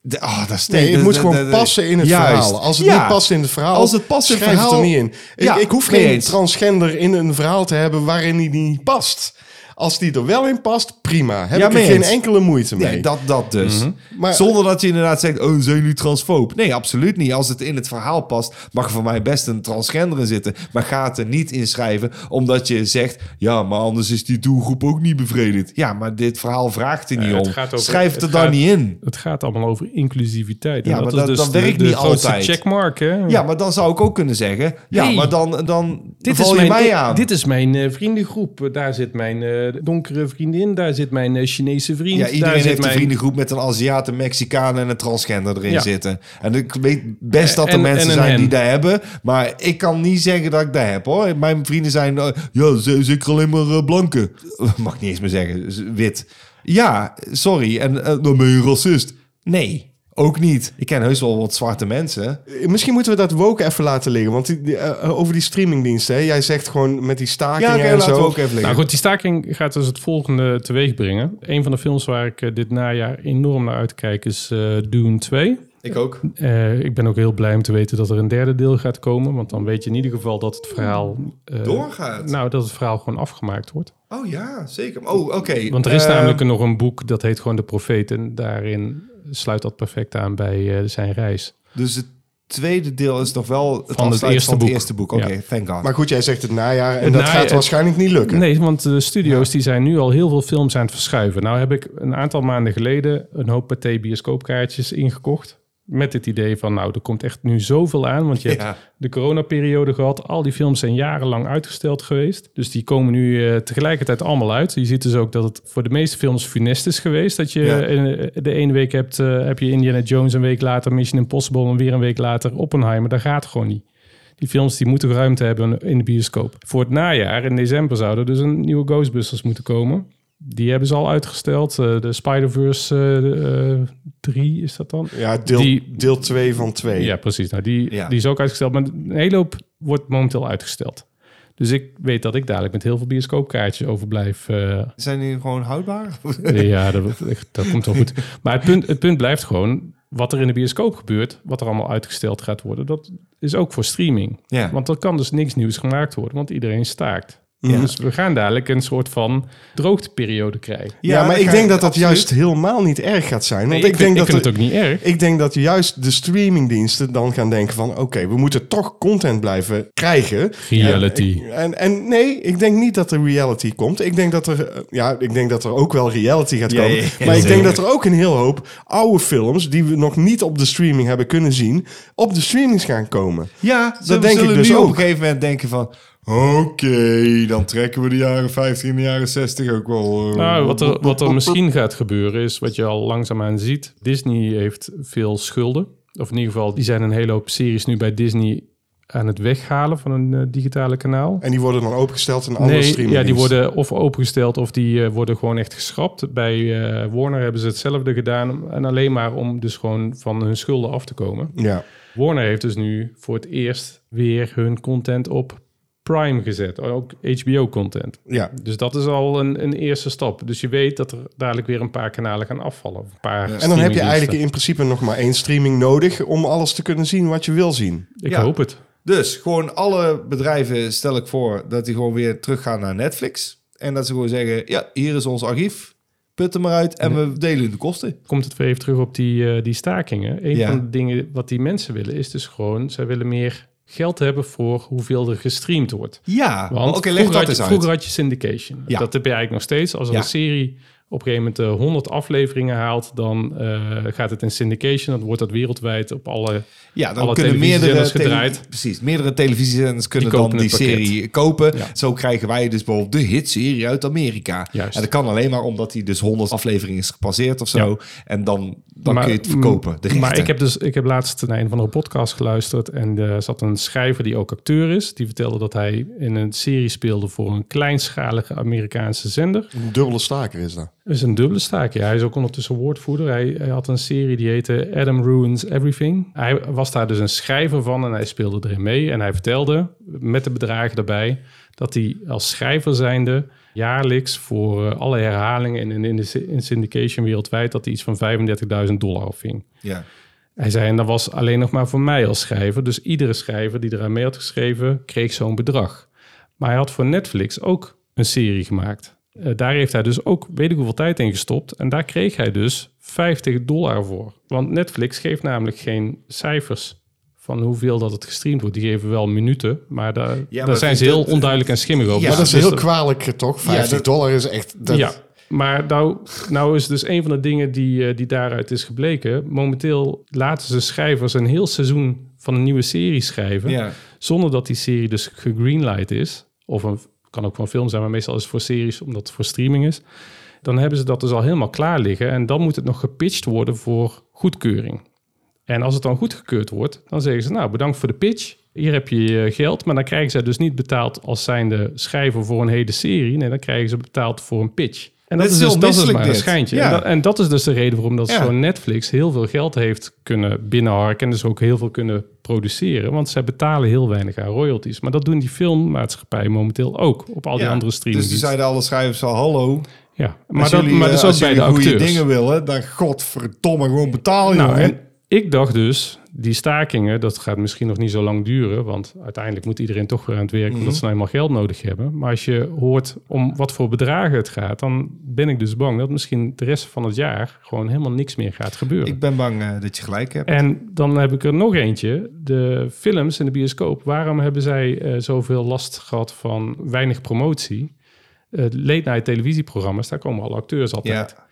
S2: De- ah, dat is
S1: Nee, het
S2: dat-
S1: moet
S2: dat-
S1: gewoon
S2: dat-
S1: passen in het
S2: Juist.
S1: verhaal. Als het
S2: Ja.
S1: niet past in het verhaal,
S2: Als het past in het
S1: schrijf
S2: verhaal-
S1: er niet in. Ik,
S2: Ja,
S1: ik hoef
S2: mee
S1: geen
S2: eens.
S1: transgender in een verhaal te hebben waarin die niet past. Als die er wel in past, prima. Heb
S2: Ja,
S1: ik er
S2: mee
S1: geen
S2: eens.
S1: enkele moeite mee.
S2: Nee, dat, dat dus.
S3: Mhm.
S1: Maar-
S2: Zonder dat je inderdaad zegt, oh, zijn jullie transfoob? Nee, absoluut niet. Als het in het verhaal past, mag er voor mij best een transgender in zitten. Maar ga het er niet inschrijven, omdat je zegt, ja, maar anders is die doelgroep ook niet bevredigd. Ja, maar dit verhaal vraagt er niet
S3: het
S2: om.
S3: gaat over-
S2: Schrijf het er
S3: het
S2: dan
S3: gaat-
S2: niet in.
S3: Het gaat allemaal over inclusiviteit. En
S2: Ja, maar
S3: is
S2: dat-
S3: dus
S2: dat
S3: de-
S2: werkt
S3: de
S2: niet
S3: grootste
S2: altijd.
S3: checkmark, hè?
S2: Ja, maar dan zou ik ook kunnen zeggen, ja,
S3: Nee.
S2: maar dan, dan
S3: Dit
S2: val
S3: is,
S2: je
S3: mijn,
S2: mij aan.
S3: dit is mijn eh, vriendengroep. Eh, Daar zit mijn eh, donkere vriendin. Daar zit mijn eh, Chinese vriend.
S2: ja, iedereen
S3: daar zit
S2: heeft een
S3: mijn...
S2: vriendengroep met een Aziat, een Mexicaan en een transgender erin
S3: Ja.
S2: zitten. En ik weet best dat er
S3: En-
S2: mensen
S3: en een
S2: zijn die
S3: hen.
S2: dat hebben, maar ik kan niet zeggen dat ik dat heb hoor. Mijn vrienden zijn, eh, ja, ze- zeker alleen maar eh, blanke. Mag niet eens meer zeggen, z- wit. Ja, sorry, en eh, dan ben je racist. Nee, ook niet. Ik ken heus wel wat zwarte mensen.
S1: Misschien moeten we dat woke even laten liggen. Want die- die, eh, over die streamingdiensten, hè, jij zegt gewoon met die stakingen
S2: Ja, oké,
S1: en
S2: laten we
S1: zo.
S2: ook even liggen.
S3: Nou goed, die staking gaat dus het volgende teweeg brengen. Een van de films waar ik eh, dit najaar enorm naar uitkijk is eh Dune 2.
S2: ik ook.
S3: Eh, ik ben ook heel blij om te weten dat er een derde deel gaat komen. Want dan weet je in ieder geval dat het verhaal... eh,
S2: Doorgaat.
S3: Nou, dat het verhaal gewoon afgemaakt wordt.
S2: Oh ja, zeker. Oh, oké.
S3: Want er is
S2: Eh,
S3: namelijk nog een boek dat heet gewoon De Profeet. En daarin sluit dat perfect aan bij eh, zijn reis.
S2: Dus het tweede deel is nog wel het,
S3: het
S2: afsluiten
S3: eerste
S2: van het
S3: boek.
S2: eerste boek. Oké,
S3: Ja.
S2: thank God.
S1: Maar goed, jij zegt het najaar en
S3: Het
S1: dat
S3: najaar-
S1: gaat waarschijnlijk niet lukken.
S3: Nee, want de studio's die zijn nu al heel veel films aan het verschuiven. Nou heb ik een aantal maanden geleden een hoop pathé bioscoopkaartjes ingekocht. Met het idee van, nou, er komt echt nu zoveel aan. Want je
S2: Ja.
S3: hebt de coronaperiode gehad. Al die films zijn jarenlang uitgesteld geweest. Dus die komen nu eh, tegelijkertijd allemaal uit. Je ziet dus ook dat het voor de meeste films funest is geweest. Dat je
S2: Ja.
S3: eh, de ene week hebt, eh, heb je Indiana Jones een week later, Mission Impossible en weer een week later Oppenheimer. Dat gaat gewoon niet. Die films die moeten ruimte hebben in de bioscoop. Voor het najaar, in december, zouden dus een nieuwe Ghostbusters moeten komen. Die hebben ze al uitgesteld. Eh, de Spider-Verse 3 is dat dan?
S1: Ja, deel,
S3: Die-
S1: deel 2 van 2.
S3: Ja, precies. Nou, die,
S2: Ja.
S3: die is ook uitgesteld. Maar een hele hoop wordt momenteel uitgesteld. Dus ik weet dat ik dadelijk met heel veel bioscoopkaartjes overblijf. eh,
S2: Zijn die gewoon houdbaar?
S3: ja, dat, dat komt wel goed. Maar het punt, het punt blijft gewoon... wat er in de bioscoop gebeurt... wat er allemaal uitgesteld gaat worden... dat is ook voor streaming.
S2: Ja.
S3: Want er kan dus niks nieuws gemaakt worden... want iedereen staakt. Dus we gaan dadelijk een soort van droogteperiode krijgen.
S1: Ja, maar
S2: dan
S1: ik
S2: ga
S1: denk dat dat
S2: absoluut.
S1: juist helemaal niet erg gaat zijn. Want
S3: Nee,
S1: ik, denk
S3: vind-
S1: dat
S3: ik vind
S1: er-
S3: het ook niet erg.
S1: Ik denk dat juist de streamingdiensten dan gaan denken van... oké, we moeten toch content blijven krijgen.
S3: Reality.
S1: En, en, en nee, ik denk niet dat er reality komt. Ik denk dat er, eh, ja, ik denk dat er ook wel reality gaat
S2: Ja,
S1: komen.
S2: ja, ja,
S1: maar ik
S2: zeker.
S1: denk dat er ook een heel hoop oude films... die we nog niet op de streaming hebben kunnen zien... op de streamings gaan komen.
S2: Ja, dat
S1: denk ik
S2: zullen
S1: dus
S2: nu op
S1: ook.
S2: een gegeven moment denken van... Oké, dan trekken we de jaren 50 en de jaren 60 ook wel. eh,
S3: Nou, wat er,
S2: op-
S3: wat er misschien gaat gebeuren is, wat je al langzaamaan ziet... Disney heeft veel schulden. Of in ieder geval, die zijn een hele hoop series nu bij Disney... aan het weghalen van een eh, digitale kanaal.
S1: En die worden dan opengesteld in andere
S3: Nee, ja,
S1: streamingdiensten.
S3: die worden of opengesteld of die eh, worden gewoon echt geschrapt. Bij eh, Warner hebben ze hetzelfde gedaan. En alleen maar om dus gewoon van hun schulden af te komen.
S1: Ja.
S3: Warner heeft dus nu voor het eerst weer hun content op Prime gezet. Ook HBO-content.
S1: Ja,
S3: Dus dat is al een, een eerste stap. Dus je weet dat er dadelijk weer een paar kanalen gaan afvallen. Een paar
S1: en dan heb je
S3: streamingdiensten.
S1: eigenlijk in principe nog maar één streaming nodig om alles te kunnen zien wat je wil zien.
S3: Ik
S2: Ja.
S3: hoop het.
S2: Dus gewoon alle bedrijven stel ik voor dat die gewoon weer teruggaan naar Netflix. En dat ze gewoon zeggen, ja, hier is ons archief. Put hem maar uit en we delen de kosten.
S3: komt het weer even terug op die, eh, die stakingen. Een
S2: Ja.
S3: van de dingen wat die mensen willen is dus gewoon... zij willen meer geld hebben voor hoeveel er gestreamd wordt.
S2: Ja,
S3: Want
S2: oké, leg
S3: vroeger,
S2: dat
S3: had
S2: eens
S3: je,
S2: uit.
S3: vroeger had je syndication.
S2: Ja.
S3: Dat heb je eigenlijk nog steeds. Als er
S2: Ja.
S3: een serie op een gegeven moment eh, 100 afleveringen haalt... dan eh, gaat het in syndication. Dan wordt dat wereldwijd op alle...
S2: Ja, dan
S3: alle
S2: kunnen meerdere
S3: televisiezenders
S2: tele-
S3: gedraaid.
S2: Precies, meerdere televisiezenders kunnen
S3: kopen
S2: dan die
S3: het pakket.
S2: serie kopen.
S3: Ja.
S2: Zo krijgen wij dus bijvoorbeeld de hitserie uit Amerika.
S3: Juist.
S2: En dat kan alleen maar omdat die dus 100 afleveringen is gepasseerd of zo. En dan, dan kun je het verkopen. De
S3: maar
S2: rechten.
S3: ik heb dus ik heb laatst naar een van de podcast geluisterd en er zat een schrijver die ook acteur is. Die vertelde dat hij in een serie speelde voor een kleinschalige Amerikaanse zender.
S1: Een dubbele staker is dat.
S3: Dat is een dubbele staak. Ja, hij is ook ondertussen woordvoerder. Hij, hij had een serie die heette Adam Ruins Everything. Hij was daar dus een schrijver van en hij speelde erin mee. En hij vertelde, met de bedragen daarbij, dat hij als schrijver zijnde jaarlijks voor eh, alle herhalingen en in, in de sy- in syndication wereldwijd, dat hij iets van 35.000 dollar opving.
S2: Ja.
S3: Hij zei, en dat was alleen nog maar voor mij als schrijver. Dus iedere schrijver die eraan mee had geschreven, kreeg zo'n bedrag. Maar hij had voor Netflix ook een serie gemaakt. Eh, daar heeft hij dus ook weet ik hoeveel tijd in gestopt. En daar kreeg hij dus 50 dollar voor. Want Netflix geeft namelijk geen cijfers van hoeveel dat het gestreamd wordt. Die geven wel minuten, maar daar, daar
S2: dat
S3: zijn
S2: is-
S3: ze heel
S2: dat-
S3: onduidelijk en schimmig over.
S2: Ja,
S1: maar dat is
S3: Dus
S1: heel kwalijk eh, toch? 50
S2: dat-
S1: dollar is echt... Dat,
S3: ja, maar nou, nou is dus een van de dingen die, eh, die daaruit is gebleken. Momenteel laten ze schrijvers een heel seizoen van een nieuwe serie schrijven.
S2: Ja.
S3: Zonder dat die serie dus gegreenlight is. Of een, kan ook van film zijn, maar meestal is het voor series omdat het voor streaming is. Dan hebben ze dat dus al helemaal klaar liggen. En dan moet het nog gepitcht worden voor goedkeuring. En als het dan goedgekeurd wordt, dan zeggen ze... nou, bedankt voor de pitch. Hier heb je je geld. Maar dan krijgen zij dus niet betaald als zijnde schrijver voor een hele serie. Nee, dan krijgen ze betaald voor een pitch. En dat,
S2: Dit
S3: is,
S2: is
S3: dus,
S2: heel
S3: dat is
S2: misselijk
S3: maar een
S2: dit.
S3: schijntje.
S2: Ja.
S3: En, dat, en dat is dus de reden waarom dat
S2: Ja.
S3: zo'n Netflix heel veel geld heeft kunnen binnenharken. En dus ook heel veel kunnen produceren. Want zij betalen heel weinig aan royalties. Maar dat doen die filmmaatschappijen momenteel ook. Op al die
S2: Ja,
S3: andere
S2: Dus
S3: streamingdiensten.
S2: die zeiden alle schrijvers al, hallo.
S3: ja. Maar,
S2: als
S3: dat,
S2: jullie,
S3: maar dat
S2: eh,
S3: is ook
S2: als
S3: bij de
S2: jullie goede
S3: acteurs.
S2: dingen willen, dan godverdomme gewoon betaal je.
S3: Nou, en ik dacht dus, die stakingen, dat gaat misschien nog niet zo lang duren. Want uiteindelijk moet iedereen toch weer aan het werk,
S2: Mhm.
S3: omdat ze nou eenmaal geld nodig hebben. Maar als je hoort om wat voor bedragen het gaat, dan ben ik dus bang dat misschien de rest van het jaar gewoon helemaal niks meer gaat gebeuren.
S2: Ik ben bang eh, dat je gelijk hebt.
S3: En dan heb ik er nog eentje. De films in de bioscoop. Waarom hebben zij eh, zoveel last gehad van weinig promotie? Eh late night televisieprogramma's, daar komen alle acteurs altijd.
S2: ja.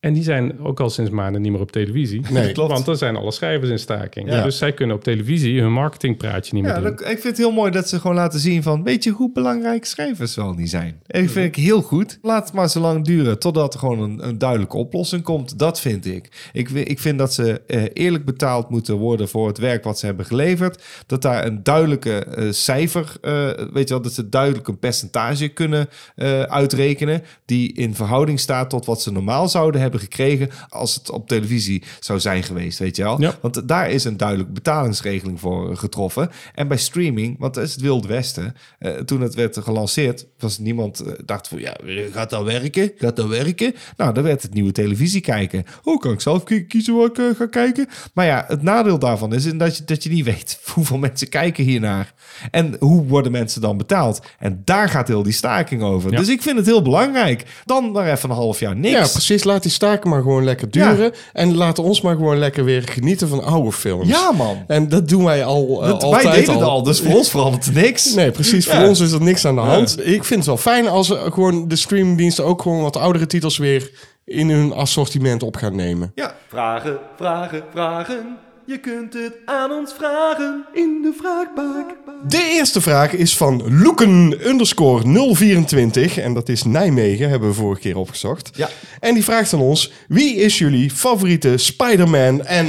S3: En die zijn ook al sinds maanden niet meer op televisie.
S1: Nee. Klopt.
S3: Want er zijn alle schrijvers in staking.
S1: Ja.
S3: Dus zij kunnen op televisie hun marketingpraatje niet meer
S2: Ja,
S3: doen.
S2: dat- ik vind het heel mooi dat ze gewoon laten zien van... weet je hoe belangrijk schrijvers wel niet zijn? Ik vind ik heel goed. Laat het maar zo lang duren totdat er gewoon een, een duidelijke oplossing komt. Dat vind ik. Ik, wi- ik vind dat ze eh, eerlijk betaald moeten worden voor het werk wat ze hebben geleverd. Dat daar een duidelijke eh, cijfer... eh, weet je wel, dat ze duidelijk een percentage kunnen eh, uitrekenen... die in verhouding staat tot wat ze normaal zouden hebben gekregen... als het op televisie zou zijn geweest, weet je wel?
S3: Ja.
S2: Want daar is een duidelijke betalingsregeling voor eh, getroffen. En bij streaming, want dat is het Wild Westen. eh, toen het werd gelanceerd, was niemand eh, dacht van ja, eh, gaat dat werken? Gaat dat werken? Nou, dan werd het nieuwe televisie kijken. Hoe kan ik zelf ki- kiezen waar ik eh, ga kijken? Maar ja, het nadeel daarvan is dat je, dat je niet weet hoeveel mensen kijken hiernaar. En hoe worden mensen dan betaald? En daar gaat heel die staking over.
S3: Ja.
S2: Dus ik vind het heel belangrijk. Dan maar even een half jaar niks.
S1: Ja, precies. Laat die staken maar gewoon lekker duren. En laten ons maar gewoon lekker weer genieten van oude films.
S2: Ja, man.
S1: En dat doen wij al eh,
S2: Dat,
S1: altijd
S2: wij deden
S1: al.
S2: het al, dus voor ons verandert er niks.
S1: Nee, precies.
S2: Ja.
S1: Voor ons is er niks aan de hand. Ik vind het wel fijn als eh, gewoon de streamingdiensten ook gewoon wat oudere titels weer in hun assortiment op gaan nemen.
S2: Ja,
S9: Vragen, vragen, vragen. Je kunt het aan ons vragen in de vraagbak.
S1: De eerste vraag is van Loeken underscore 024. En dat is Nijmegen, hebben we vorige keer opgezocht.
S2: Ja.
S1: En die vraagt aan ons: wie is jullie favoriete Spider-Man en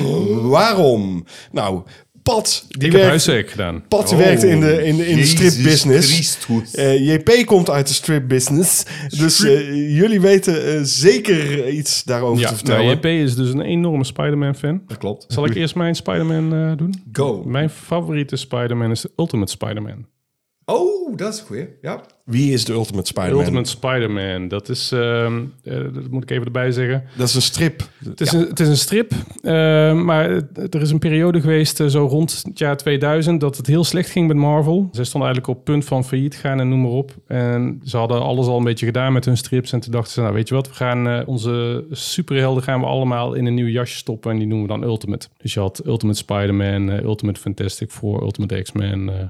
S1: waarom? Nou, Pat, die
S3: ik heb
S1: werkt-
S3: huiswerk gedaan.
S1: Pat werkt in de, in, in de
S2: Jezus
S1: strip business.
S2: Christus.
S1: JP komt uit de strip business. Dus eh, jullie weten eh, zeker iets daarover
S3: Ja,
S1: te vertellen.
S3: nou, JP is dus een enorme Spider-Man-fan.
S2: dat klopt.
S3: Zal ik eerst mijn Spider-Man eh, doen?
S2: Go.
S3: Mijn favoriete Spider-Man is de Ultimate Spider-Man.
S2: Oh, dat is goed. Ja.
S1: Wie is de Ultimate
S3: De
S1: Spider-Man?
S3: Ultimate Spider-Man, dat is, ehm, eh, dat moet ik even erbij zeggen.
S1: Dat is een strip.
S3: Het is, een, het is een strip, eh, maar het- er is een periode geweest, eh, zo rond het jaar 2000, dat het heel slecht ging met Marvel. Ze stonden eigenlijk op punt van failliet gaan en noem maar op. En ze hadden alles al een beetje gedaan met hun strips. En toen dachten ze, nou weet je wat, we gaan eh, onze superhelden gaan we allemaal in een nieuw jasje stoppen. En die noemen we dan Ultimate. Dus je had Ultimate Spider-Man, eh, Ultimate Fantastic Four, Ultimate X-Men. eh,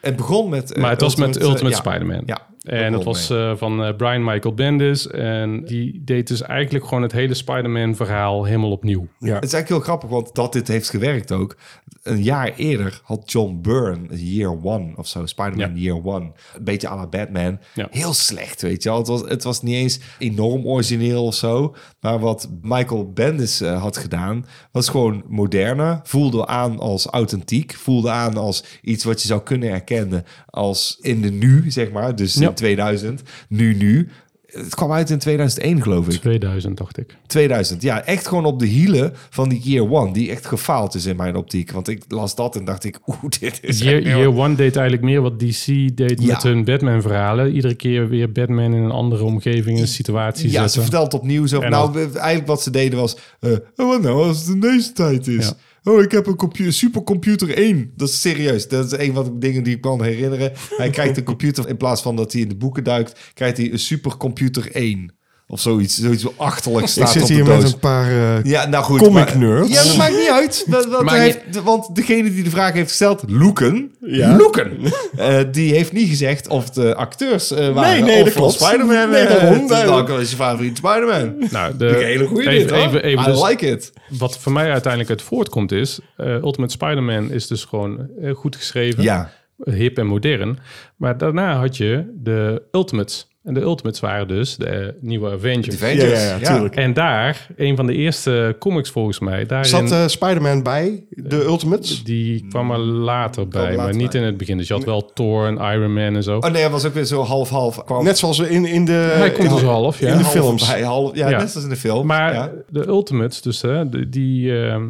S2: Het begon met... eh,
S3: maar het was met
S2: eh,
S3: Ultimate
S2: ja.
S3: Spider-Man.
S2: Ja.
S3: En dat
S2: begon
S3: was
S2: mee.
S3: eh, van eh, Brian Michael Bendis. En die deed dus eigenlijk gewoon het hele Spider-Man verhaal helemaal opnieuw.
S1: Ja.
S2: Het is eigenlijk heel grappig, want dat dit heeft gewerkt ook. Een jaar eerder had John Byrne, Year One of zo, Spider-Man Year One, een beetje à la Batman,
S3: Ja.
S2: heel slecht, weet je wel. Het was, het was niet eens enorm origineel of zo, maar wat Michael Bendis eh, had gedaan, was gewoon moderner, voelde aan als authentiek, voelde aan als iets wat je zou kunnen herkennen als in de nu, zeg maar, dus
S3: Ja.
S2: in 2000, nu, nu. Het kwam uit in 2001, geloof ik.
S3: 2000, dacht ik.
S2: 2000. Ja, echt gewoon op de hielen van die Year One. Die echt gefaald is in mijn optiek. Want ik las dat en dacht ik, oeh, dit is...
S3: Year,
S2: echt heel-
S3: Year One deed eigenlijk meer wat DC deed
S2: Ja.
S3: met hun Batman-verhalen. Iedere keer weer Batman in een andere omgeving en situatie
S2: ja, ze
S3: zetten.
S2: vertelt opnieuw zo.
S3: En
S2: oh, nou, we- eigenlijk wat ze deden was... eh, wat nou als het in deze tijd is? Oh, ik heb een compu- supercomputer 1. Dat is serieus. Dat is een van de dingen die ik kan herinneren. Hij krijgt een computer, in plaats van dat hij in de boeken duikt, krijgt hij een supercomputer 1. Of zoiets. Zoiets wel achterlijk
S1: Ik
S2: staat
S1: zit
S2: op de
S1: hier
S2: doos.
S1: met een paar... eh,
S2: Ja, nou goed.
S1: Comic
S2: maar-
S1: nerds.
S2: Ja, dat maakt niet uit. Want, want,
S7: Maakt
S2: hij
S7: niet-
S2: heeft- want degene die de vraag heeft gesteld, Loeken,
S1: Ja.
S2: Loeken eh, die heeft niet gezegd of de acteurs eh waren.
S1: nee,
S2: of
S1: dat
S2: van
S1: klopt.
S2: Spider-Man.
S1: Nee, eh,
S2: eh,
S1: daarom,
S2: te
S1: daarom.
S2: danken is je favoriet Spider-Man.
S3: Nou, de,
S2: Een hele goede
S3: even,
S2: dit, hoor.
S3: even, even
S2: I
S3: dus-
S2: like it.
S3: Wat voor mij uiteindelijk uit voortkomt is... eh, Ultimate Spider-Man is dus gewoon eh, goed geschreven.
S2: Ja.
S3: hip en modern. Maar daarna had je de Ultimates. En de Ultimates waren dus de eh, nieuwe Avengers.
S1: ja, ja, ja, tuurlijk.
S3: En daar, een van de eerste comics volgens mij, daarin,
S1: Zat eh, Spider-Man bij de Ultimates?
S3: die kwam er later bij,
S2: later
S3: maar niet
S2: bij.
S3: in het begin. Dus je had wel Thor en Iron Man en zo.
S2: Oh nee, hij was ook weer zo half-half. kwam-
S1: Net zoals in, in de...
S3: Hij komt
S1: in-
S3: dus half, ja.
S1: In de
S2: half
S1: films.
S2: bij, half, ja,
S3: Ja.
S2: net als in de film.
S3: Maar
S2: ja.
S3: de Ultimates, dus, hè, de- die, ehm,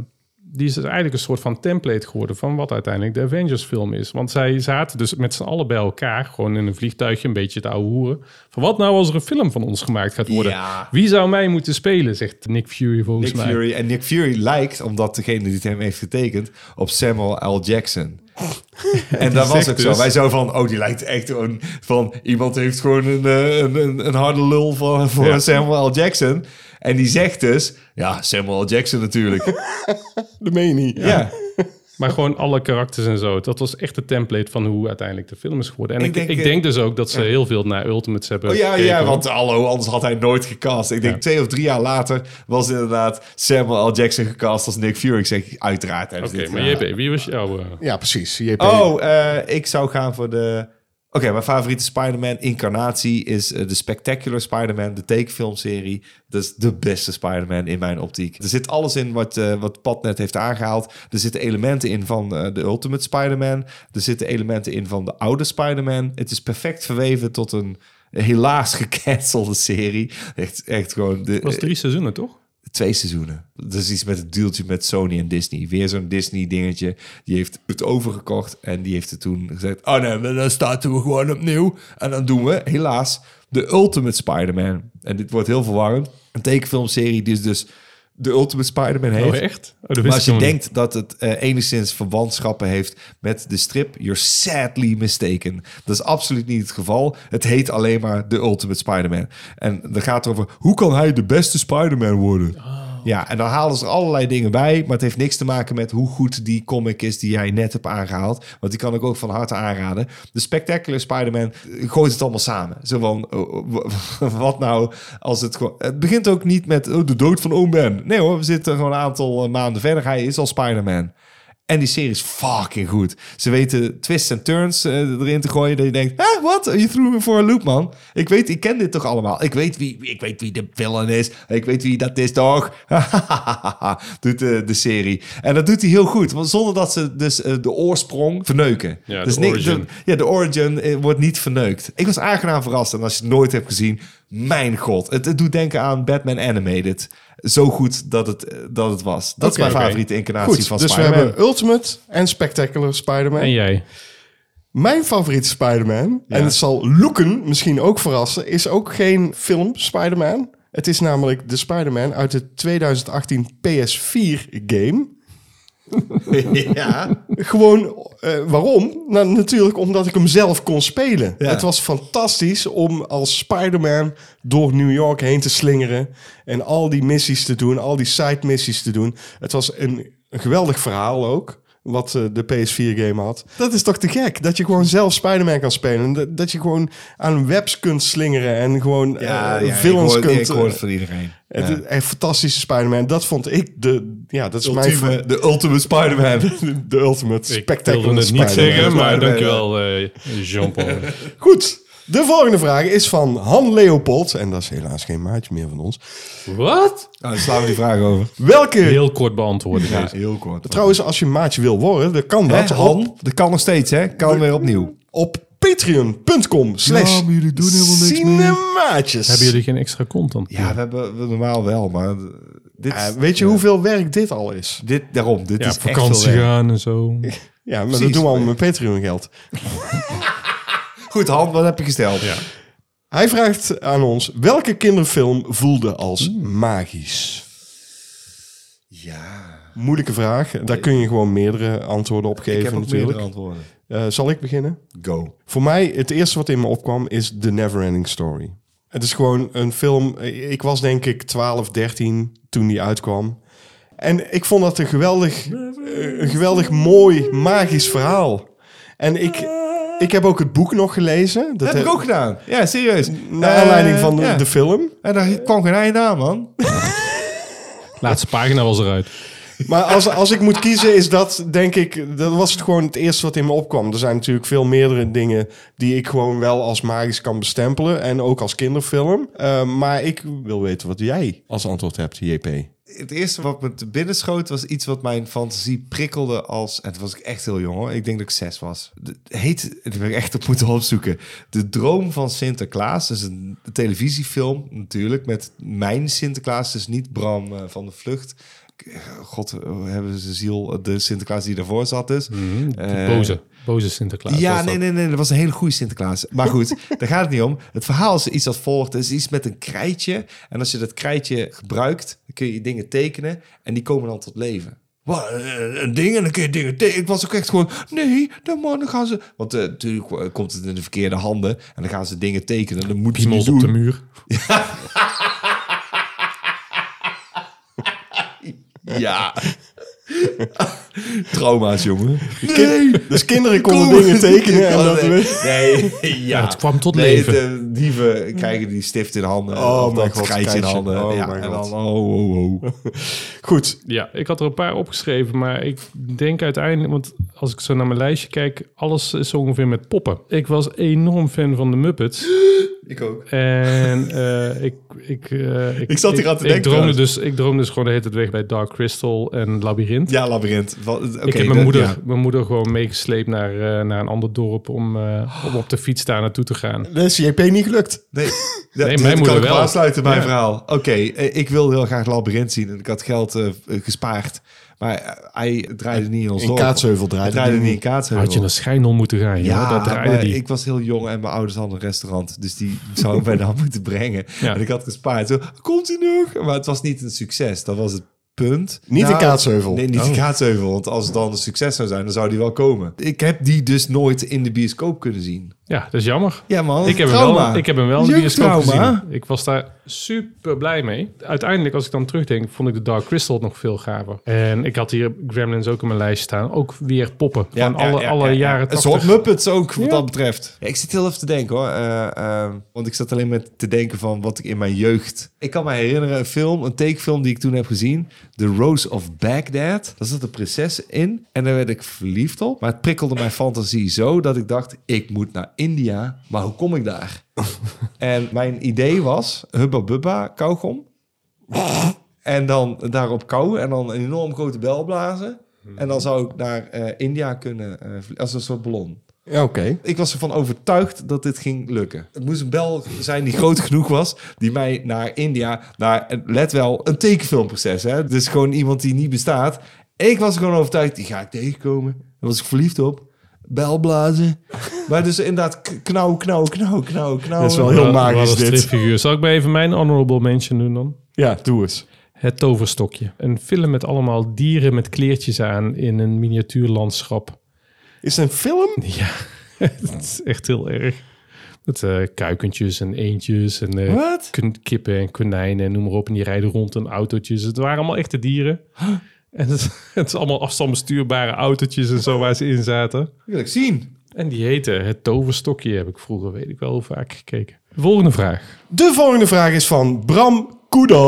S3: die is dus eigenlijk een soort van template geworden van wat uiteindelijk de Avengers film is. Want zij zaten dus met z'n allen bij elkaar, gewoon in een vliegtuigje, een beetje te ouwe hoeren. Van wat nou als er een film van ons gemaakt gaat worden?
S2: Ja.
S3: Wie zou mij moeten spelen, zegt Nick Fury volgens
S2: Nick
S3: mij.
S2: Fury. En Nick Fury lijkt, omdat degene die het hem heeft getekend, op Samuel L. Jackson. en dat was
S3: zegt
S2: ook zo.
S3: dus-
S2: Wij zo van, oh, die lijkt echt gewoon van... Iemand heeft gewoon een, eh, een, een, een harde lul voor, voor
S3: Ja.
S2: Samuel L. Jackson. En die zegt dus, ja, Samuel L. Jackson natuurlijk.
S1: Dat meen je niet.
S2: ja.
S3: Maar gewoon alle karakters en zo. Dat was echt de template van hoe uiteindelijk de film is geworden. En
S2: Ik
S3: ik,
S2: denk,
S3: denk,
S2: eh,
S3: ik denk dus ook dat ze heel veel naar Ultimates hebben
S2: Oh ja,
S3: gekeken,
S2: ja,
S3: hoor.
S2: want hallo, anders had hij nooit gecast. Ik denk twee of drie jaar later was inderdaad Samuel L. Jackson gecast als Nick Fury. Ik zeg, uiteraard hebben
S3: Oké,
S2: ze dit
S3: maar
S2: gedaan.
S3: JP, wie was jouw... eh,
S1: Ja, precies. JP.
S2: Oh, eh, ik zou gaan voor de. Oké, mijn favoriete Spider-Man-incarnatie is eh, de Spectacular Spider-Man, de tekenfilmserie. Dat is de beste Spider-Man in mijn optiek. Er zit alles in wat, eh, wat Pat net heeft aangehaald. Er zitten elementen in van eh, de Ultimate Spider-Man. Er zitten elementen in van de oude Spider-Man. Het is perfect verweven tot een helaas gecancelde serie. Echt, echt gewoon... De,
S3: het was drie seizoenen, toch?
S2: twee seizoenen. Dat is iets met het deeltje met Sony en Disney. Weer zo'n Disney dingetje. Die heeft het overgekocht en die heeft er toen gezegd... oh nee, maar dan starten we gewoon opnieuw. En dan doen we helaas de Ultimate Spider-Man. En dit wordt heel verwarrend. Een tekenfilmserie die is dus de Ultimate Spider-Man heeft.
S3: Oh, echt? Oh, dat
S2: Maar
S3: wist ik
S2: als je
S3: helemaal
S2: denkt dat het eh, enigszins verwantschappen heeft met de strip, you're sadly mistaken. Dat is absoluut niet het geval. Het heet alleen maar The Ultimate Spider-Man. En dan gaat het over hoe kan hij de beste Spider-Man worden?
S3: Ah.
S2: Ja, en dan halen ze er allerlei dingen bij, maar het heeft niks te maken met hoe goed die comic is die jij net hebt aangehaald. Want die kan ik ook van harte aanraden. De Spectacular Spider-Man eh, gooit het allemaal samen. Zo van, oh, oh, wa- wat nou als het gewoon... Het begint ook niet met oh, de dood van oom Ben. Nee hoor, we zitten gewoon een aantal eh, maanden verder. Hij is al Spider-Man. En die serie is fucking goed. Ze weten twists en turns eh, erin te gooien. Dat je denkt, ah, wat? Je threw me voor een loop, man. Ik weet, ik ken dit toch allemaal. Ik weet wie, ik weet wie de villain is. Ik weet wie dat is, toch? doet eh, de, de serie. En dat doet hij heel goed. Want zonder dat ze dus eh, de oorsprong verneuken.
S3: Ja, de
S2: dus niks-
S3: origin.
S2: de- ja, de origin eh, wordt niet verneukt. Ik was aangenaam verrast. En als je het nooit hebt gezien, mijn god. Het, het doet denken aan Batman Animated. Zo goed dat het, eh, dat het was. Dat
S3: Oké,
S2: is mijn
S3: oké.
S2: favoriete incarnatie
S1: Goed,
S2: van
S1: dus we
S2: Spider-Man.
S1: hebben Ultimate en Spectacular Spider-Man.
S3: En jij?
S1: Mijn favoriete Spider-Man, en het zal Loeken misschien ook verrassen, is ook geen film Spider-Man. Het is namelijk de Spider-Man uit de 2018 PS4-game.
S2: Ja.
S1: Gewoon, eh, waarom? Nou, natuurlijk omdat ik hem zelf kon spelen.
S2: Ja.
S1: Het was fantastisch om als Spider-Man door New York heen te slingeren. En al die missies te doen, al die side-missies te doen. Het was een, een geweldig verhaal ook, wat eh, de PS4-game had. Dat is toch te gek? Dat je gewoon zelf Spider-Man kan spelen. Dat, dat je gewoon aan webs kunt slingeren en gewoon
S2: Ja,
S1: eh,
S2: ja,
S1: villains
S2: ik hoor,
S1: kunt...
S2: ik hoor het
S1: eh,
S2: van iedereen.
S1: het is echt fantastische Spider-Man. Dat vond ik de... Ja, dat is mijn...
S2: Ultieme- de ultimate Spider-Man.
S1: De ultimate
S3: Ik
S1: spectacular
S3: wilde het niet
S1: Spider-Man.
S3: zeggen, maar
S2: Spider-Man,
S3: dankjewel eh, Jean-Paul.
S1: Goed, de volgende vraag is van Han Leopold. En dat is helaas geen maatje meer van ons.
S3: Wat?
S2: Nou, dan slaan we die vraag over.
S1: Welke...
S3: Heel kort beantwoorden.
S2: Ja,
S3: deze.
S2: heel kort.
S1: Trouwens, als je maatje wil worden, dan kan dat
S2: Hè,
S1: op,
S2: Han, dat kan nog steeds, hè? Kan weer opnieuw.
S1: op patreon.com slash
S2: Ja, maar jullie doen helemaal niks meer.
S1: cinemaatjes.
S3: Hebben jullie geen extra content?
S2: Ja, we hebben we normaal wel, maar eh, dit,
S1: Ja, weet je hoeveel werk dit al is?
S2: dit daarom, dit
S3: Ja,
S2: is
S3: op vakantie
S2: echt veel werk.
S3: gaan en zo.
S1: Ja, maar
S2: Precies.
S1: dat doen we allemaal met Patreon geld.
S2: Goed, Han, wat heb je gesteld?
S3: Ja.
S1: Hij vraagt aan ons,
S2: Hmm.
S1: welke kinderfilm voelde als magisch?
S2: Ja.
S1: Moeilijke vraag. Daar kun je gewoon meerdere antwoorden op geven
S2: Ik heb ook
S1: natuurlijk.
S2: meerdere antwoorden.
S1: Eh, zal ik beginnen?
S2: Go.
S1: Voor mij, het eerste wat in me opkwam is The Neverending Story. Het is gewoon een film. Ik was denk ik 12, 13 toen die uitkwam. En ik vond dat een geweldig, eh, een geweldig mooi, magisch verhaal. En ik, ik heb ook het boek nog gelezen. Dat
S2: Dat heb ik ook gedaan. Ja, serieus.
S1: Naar aanleiding van de,
S2: Eh, ja.
S1: de film.
S2: En daar kwam geen einde aan, man.
S3: Laatste pagina was eruit.
S1: Maar als, als ik moet kiezen, is dat denk ik. Dat was het gewoon het eerste wat in me opkwam. Er zijn natuurlijk veel meerdere dingen die ik gewoon wel als magisch kan bestempelen. En ook als kinderfilm. Eh, maar ik wil weten wat jij als antwoord hebt, JP.
S2: het eerste wat me te binnen schoot was iets wat mijn fantasie prikkelde als... En toen was ik echt heel jong hoor. Ik denk dat ik zes was. De- Het heet, ik ben ik echt op moeten opzoeken. De Droom van Sinterklaas. Dat is een televisiefilm natuurlijk. Met mijn Sinterklaas. Dus niet Bram eh, van de Vlucht. God, eh, hebben ze ziel. De Sinterklaas die daarvoor zat dus. Eh,
S3: Hm, Boze. Boze Sinterklaas. was
S2: ja,
S3: dat.
S2: nee, nee, nee. Dat was een hele goede Sinterklaas. Maar goed, daar gaat het niet om. Het verhaal is iets dat volgt. Het is iets met een krijtje. En als je dat krijtje gebruikt, dan kun je dingen tekenen. En die komen dan tot leven. Wat, eh, een ding en dan kun je dingen tekenen. Ik was ook echt gewoon, nee, dan, man, dan gaan ze... Want eh, natuurlijk eh, komt het in de verkeerde handen. En dan gaan ze dingen tekenen. Dan moet je niet
S3: Piemels op de
S2: doen.
S3: muur.
S2: Ja. Trauma's, jongen.
S1: Dus kinderen konden dingen tekenen. En dat,
S2: nee, nee, ja.
S3: het kwam tot
S2: Nee,
S3: leven.
S2: de dieven krijgen die stift in handen.
S1: Oh
S2: of
S1: mijn
S2: dat
S1: god,
S2: krijtje in
S1: krijtje.
S2: handen.
S1: Oh
S2: ja,
S1: mijn
S2: en
S1: god.
S2: dan, oh, oh, oh.
S1: Goed,
S3: Ja, ik had er een paar opgeschreven, maar ik denk uiteindelijk, want als ik zo naar mijn lijstje kijk, alles is zo ongeveer met poppen. Ik was enorm fan van de Muppets.
S2: Ik ook.
S3: En eh, ik, ik, eh,
S2: Ik zat hier aan te
S3: ik,
S2: denken
S3: droomde
S2: trouwens.
S3: dus, ik droomde dus gewoon de hele tijd weg bij Dark Crystal en Labyrinth.
S2: Ja, labyrinth. Wat- Oké,
S3: ik heb
S2: dat-
S3: mijn moeder,
S2: ja.
S3: mijn moeder gewoon meegesleept naar, eh, naar een ander dorp om, eh, om op de fiets daar naartoe te gaan.
S1: dat is JP niet gelukt.
S2: Nee, dat,
S3: mijn
S2: dat
S3: moeder
S2: kan ik wel
S3: wel.
S2: aansluiten bij
S3: Ja.
S2: mijn verhaal. Oké, eh, ik wil heel graag labyrinth zien. En ik had geld eh, eh, gespaard. Maar eh, hij draaide niet in ons
S1: In
S2: dorp.
S1: Kaatsheuvel
S2: Hij
S1: draaide
S2: draaide
S1: die
S2: niet in
S1: niet.
S2: Kaatsheuvel.
S3: Had je naar Schijnel moeten gaan, ja,
S2: Ja,
S3: dat draaide
S2: maar
S3: die.
S2: ik was heel jong en mijn ouders hadden een restaurant. Dus die zou ik bijna moeten brengen.
S3: Ja.
S2: En ik had gespaard. Zo, komt hij nog? Maar het was niet een succes. Dat was het punt.
S1: Niet
S2: Nou,
S1: in Kaatsheuvel.
S2: Nee,
S3: Oh.
S2: niet in Kaatsheuvel. Want als het dan een succes zou zijn, dan zou die wel komen. Ik heb die dus nooit in de bioscoop kunnen zien.
S3: Ja, dat is jammer.
S2: Ja man,
S3: Ik heb, hem
S2: trauma.
S3: wel, ik heb hem wel in de bioscoop
S2: Jeugdtrauma.
S3: gezien. Ik was daar super blij mee. Uiteindelijk, als ik dan terugdenk, vond ik de Dark Crystal nog veel gaver. En ik had hier Gremlins ook in mijn lijst staan. Ook weer poppen
S2: Ja,
S3: van
S2: ja,
S3: alle,
S2: ja,
S3: alle
S2: ja, ja.
S3: jaren
S2: Een
S3: 80.
S2: soort Muppets ook, wat
S3: Ja.
S2: dat betreft. Ja, ik zit heel even te denken hoor. Eh, eh, want ik zat alleen maar te denken van wat ik in mijn jeugd... Ik kan me herinneren een film, een tekenfilm die ik toen heb gezien. The Rose of Baghdad. Daar zat een prinses in. En daar werd ik verliefd op. Maar het prikkelde mijn fantasie zo dat ik dacht... Ik moet naar India, maar hoe kom ik daar? en mijn idee was Hubba Bubba kauwgom. En dan daarop kauwen en dan een enorm grote bel blazen. En dan zou ik naar eh, India kunnen eh, vlie- als een soort ballon.
S1: Ja, oké.
S2: Ik was ervan overtuigd dat dit ging lukken. Het moest een bel zijn die groot genoeg was, die mij naar India, naar, let wel, een tekenfilmproces. Hè? Dus gewoon iemand die niet bestaat. Ik was er gewoon overtuigd, die ga ik tegenkomen. Daar was ik verliefd op. Bel blazen. Maar dus inderdaad, k- knauw, knauw, knauw, knauw, knauw.
S1: Dat is wel heel
S3: Wat-
S1: magisch,
S3: wat een
S1: dit.
S3: stripfiguur. Zal ik maar even mijn honorable mention doen dan?
S1: Ja, doe eens.
S3: Het toverstokje. Een film met allemaal dieren met kleertjes aan in een miniatuurlandschap.
S1: Is het een film?
S3: Ja, het is echt heel erg. Met eh, kuikentjes en eendjes en eh,
S2: Wat?
S3: kun- kippen en konijnen en noem maar op. En die rijden rond in autootjes. Het waren allemaal echte dieren. En het, het is allemaal afstandsbestuurbare autootjes en zo waar ze in zaten.
S2: Dat wil ik zien.
S3: En die heette Het Toverstokje, heb ik vroeger, weet ik wel, heel vaak gekeken. Volgende vraag.
S1: De volgende vraag is van Bram Koedo.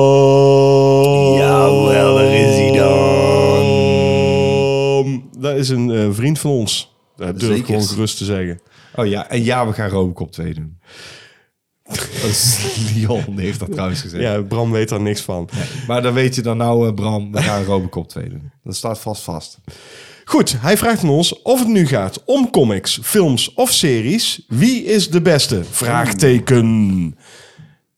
S1: Jawel, er is hij dan. Dat is een eh, vriend van ons. Dat durf ik
S2: Zeker.
S1: gewoon gerust te zeggen.
S2: Oh ja, en ja, we gaan Robocop 2 doen. Dat is- Leon heeft dat trouwens gezegd.
S1: Ja, Bram weet daar niks van.
S2: Maar dan weet je dan nou, eh, Bram, we gaan Robocop 2 doen. Dat staat vast vast.
S1: Goed, hij vraagt aan ons of het nu gaat om comics, films of series. Wie is de beste? Vraagteken.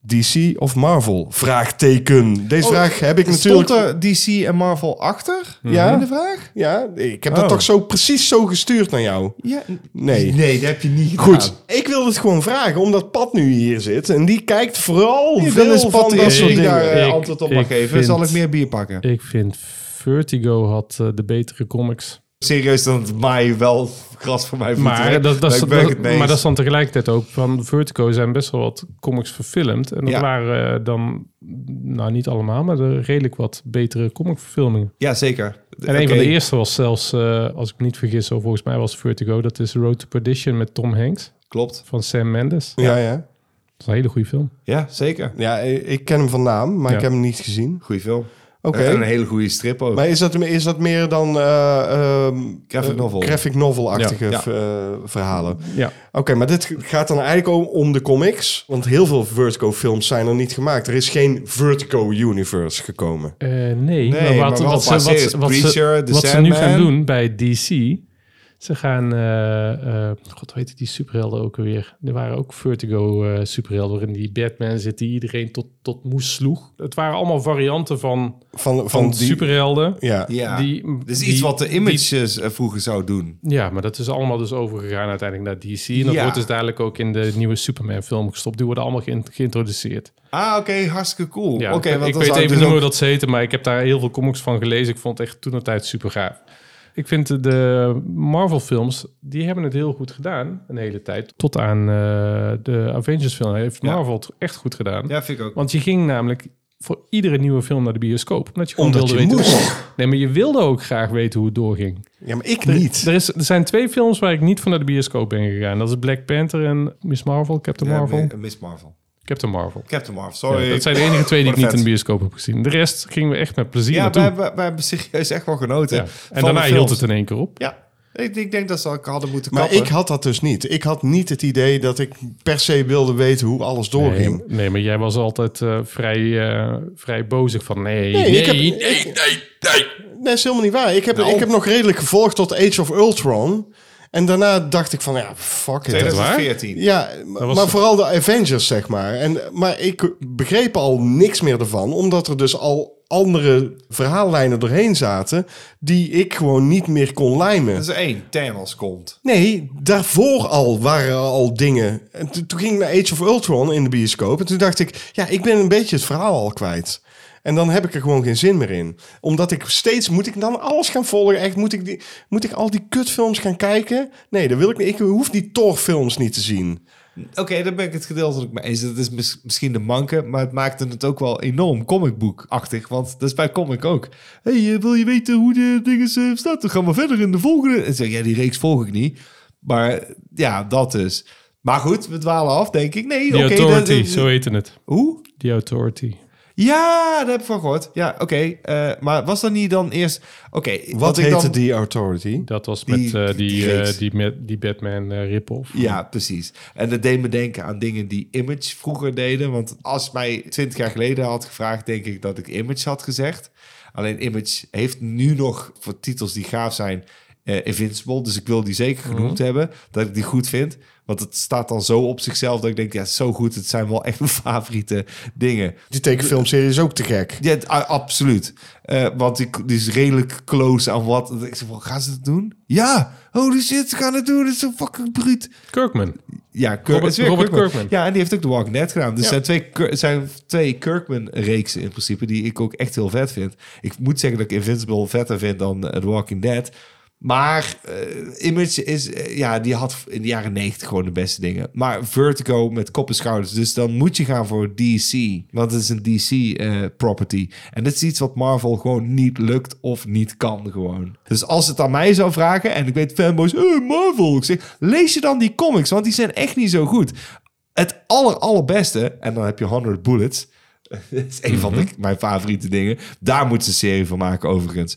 S1: DC of Marvel? Vraagteken. Deze vraag heb ik natuurlijk...
S2: Oh, Stond er DC en Marvel achter?
S1: Ja.
S2: In de vraag?
S1: Ja, ik heb dat
S2: Oh.
S1: toch zo precies zo gestuurd naar jou?
S2: Ja.
S1: Nee.
S2: Nee, dat heb je niet gedaan.
S1: Goed, ik wil het gewoon vragen, omdat Pat nu hier zit. En die kijkt vooral
S2: Ik
S1: veel
S2: wil eens
S1: van
S2: Pat
S1: dat
S2: dat
S1: soort
S2: ik
S1: dingen.
S2: daar eh,
S3: Ik-
S2: antwoord op mag
S3: ik
S2: geven.
S3: vind-
S2: Zal ik meer bier pakken?
S3: Ik vind Vertigo had eh, de betere comics.
S2: Serieus, dan maai je wel gras voor mij.
S3: Maar dat, dat, is-
S2: ik ben
S3: dat-
S2: het mee
S3: maar dat
S2: eens.
S3: is dan tegelijkertijd ook van Vertigo zijn best wel wat comics verfilmd. En dat
S2: Ja.
S3: waren eh, dan, nou niet allemaal, maar er redelijk wat betere comicverfilmingen.
S2: Ja, zeker.
S3: En een van de eerste was zelfs, eh, als ik me niet vergis, of volgens mij was Vertigo, dat is Road to Perdition met Tom Hanks
S2: Klopt.
S3: van Sam Mendes.
S1: Ja, ja.
S3: Dat is een hele goede film.
S2: Ja, zeker.
S1: ja i- ik ken hem van naam, maar
S3: Ja.
S1: ik heb hem niet gezien.
S2: Goeie film.
S1: Oké.
S2: En een hele goede strip ook.
S1: Maar is dat, is dat meer dan eh, ehm,
S2: Graphic
S1: eh,
S2: novel.
S1: graphic novel-achtige
S2: Ja, ja.
S1: v- eh, verhalen?
S3: Ja.
S1: Oké, maar dit gaat dan eigenlijk om, om de comics. Want heel veel Vertigo-films zijn er niet gemaakt. Er is geen Vertigo-universe gekomen.
S3: Eh, nee,
S2: Nee,
S3: maar
S2: maar
S3: wat,
S2: wel
S3: wat, ze,
S2: qua
S3: wat,
S2: series.
S3: ze- wat, ze,
S2: Preacher, The
S3: wat ze nu gaan
S2: Sandman.
S3: doen bij DC, ze gaan, eh, eh, god weet het, die superhelden ook weer. Er waren ook Vertigo eh, superhelden waarin die Batman zit die iedereen tot, tot moes sloeg. Het waren allemaal varianten van,
S1: Van, van,
S3: van,
S1: die...
S3: superhelden.
S1: Ja.
S2: ja.
S3: die-
S2: dus
S3: die-
S2: iets wat de
S3: die-
S2: images eh, vroeger zou doen.
S3: Ja, maar dat is allemaal dus overgegaan uiteindelijk naar DC. En dat
S2: Ja.
S3: wordt dus dadelijk ook in de nieuwe Superman film gestopt. Die worden allemaal geïn- geïntroduceerd.
S2: Ah, oké, hartstikke cool.
S3: Ja,
S2: Oké,
S3: ik,
S2: want
S3: ik
S2: dan
S3: weet
S2: zou
S3: even
S2: dus
S3: niet meer
S2: ook-
S3: hoe dat ze heten, maar ik heb daar heel veel comics van gelezen. Ik vond het echt toen de tijd super gaaf. Ik vind de- de Marvel-films, die hebben het heel goed gedaan een hele tijd. Tot aan eh, de Avengers-film heeft
S2: Ja.
S3: Marvel het echt goed gedaan.
S2: Ja, vind ik ook.
S3: Want je ging namelijk voor iedere nieuwe film naar de bioscoop. Omdat je gewoon
S1: Omdat
S3: wilde
S1: je
S3: weten hoe-
S1: moest.
S3: Nee, maar je wilde ook graag weten hoe het doorging.
S1: ja, maar ik
S3: Er-
S1: niet.
S3: Er, is, er zijn twee films waar ik niet van naar de bioscoop ben gegaan. Dat is Black Panther en Miss Marvel, Captain
S2: Ja,
S3: Marvel.
S2: mi- Miss Marvel.
S3: Captain Marvel.
S2: Captain Marvel,
S3: Ja,
S2: sorry.
S3: dat zijn de enige twee die ik niet in de
S2: Perfect.
S3: bioscoop heb gezien. De rest gingen we echt met plezier
S2: Ja,
S3: naartoe.
S2: wij hebben, wij hebben serieus echt wel genoten.
S3: Ja.
S2: van
S3: En
S2: de
S3: daarna
S2: films.
S3: hield het in één keer op.
S2: Ja, ik, ik denk dat ze ook hadden moeten
S1: Maar
S2: kappen.
S1: ik had dat dus niet. Ik had niet het idee dat ik per se wilde weten hoe alles doorging.
S3: Nee, nee, maar jij was altijd eh, vrij, eh, vrij bozig van nee, nee,
S1: ik heb-
S3: nee,
S1: Nee, is helemaal niet waar. Ik heb, ik heb nog redelijk gevolgd tot Age of Ultron. En daarna dacht ik van, ja, fuck it.
S3: waar?
S2: 2014.
S1: Ja,
S3: was-
S1: maar vooral de Avengers, zeg maar. En, maar ik begreep al niks meer ervan, omdat er dus al andere verhaallijnen doorheen zaten die ik gewoon niet meer kon lijmen.
S2: Dat is één. Thanos komt.
S1: Nee, daarvoor al waren er al dingen. En toen- toen ging ik naar Age of Ultron in de bioscoop. En toen dacht ik, ja, ik ben een beetje het verhaal al kwijt. En dan heb ik er gewoon geen zin meer in. Omdat ik steeds, moet ik dan alles gaan volgen? Echt, moet ik, die, moet ik al die kutfilms gaan kijken? Nee, dat wil ik niet. Ik hoef die Thor-films niet te zien.
S2: Oké, daar ben ik het gedeeltelijk mee eens. Dat is mis- misschien de manke, maar het maakte het ook wel enorm comicboekachtig. Want dat is bij comic ook. Hé, hey, eh, wil je weten hoe de dingen eh, staat? Dan gaan we verder in de volgende. En zeg, ja, die reeks volg ik niet. Maar eh, ja, dat dus. Maar goed, we dwalen af, denk ik. Nee,
S3: Die
S2: oké. dat-
S3: Authority,
S2: eh,
S3: zo heette het.
S2: Hoe?
S3: Die Authority.
S2: Ja, daar heb ik van gehoord. Ja, oké. eh, maar was dat niet dan eerst... Oké,
S1: Wat
S2: ik
S1: heette
S2: dan-
S1: die Authority?
S3: Dat was
S2: Die-
S3: met eh, die,
S2: die
S3: eh,
S2: reeks.
S3: die, met, die Batman eh, rip-off.
S2: Ja, precies. En dat deed me denken aan dingen die Image vroeger deden. Want als mij twintig jaar geleden had gevraagd, denk ik dat ik Image had gezegd. Alleen Image heeft nu nog voor titels die gaaf zijn eh, Invincible. Dus ik wil die zeker genoemd hebben, dat ik die goed vind. Want het staat dan zo op zichzelf dat ik denk, ja, zo goed. Het zijn wel echt mijn favoriete dingen.
S1: Die tekenfilmserie is ook te gek.
S2: Ja, het- a- absoluut. Eh, want die, die is redelijk close aan wat. Ik zeg van, gaan ze het doen? Ja! Holy shit, ze gaan het doen. Het is zo fucking bruut.
S3: Kirkman.
S2: Ja, Kirk,
S3: Robert-
S2: het is weer
S3: Robert
S2: Kirkman.
S3: Kirkman.
S2: Ja, en die heeft ook The Walking Dead gedaan. Dus zijn twee, Kir- zijn twee Kirkman-reeksen in principe, die ik ook echt heel vet vind. Ik moet zeggen dat ik Invincible vetter vind dan eh, The Walking Dead. Maar eh, Image is, eh, ja, die had in de jaren negentig gewoon de beste dingen. Maar Vertigo met kop en schouders. Dus dan moet je gaan voor DC. Want het is een DC-property. en dit is iets wat Marvel gewoon niet lukt of niet kan gewoon. Dus als het aan mij zou vragen, en ik weet fanboys, hey, Marvel. Ik zeg, lees je dan die comics, want die zijn echt niet zo goed. Het aller, allerbeste, en dan heb je 100 Bullets. dat is een van de- mijn favoriete dingen. Daar moeten ze een serie van maken, overigens.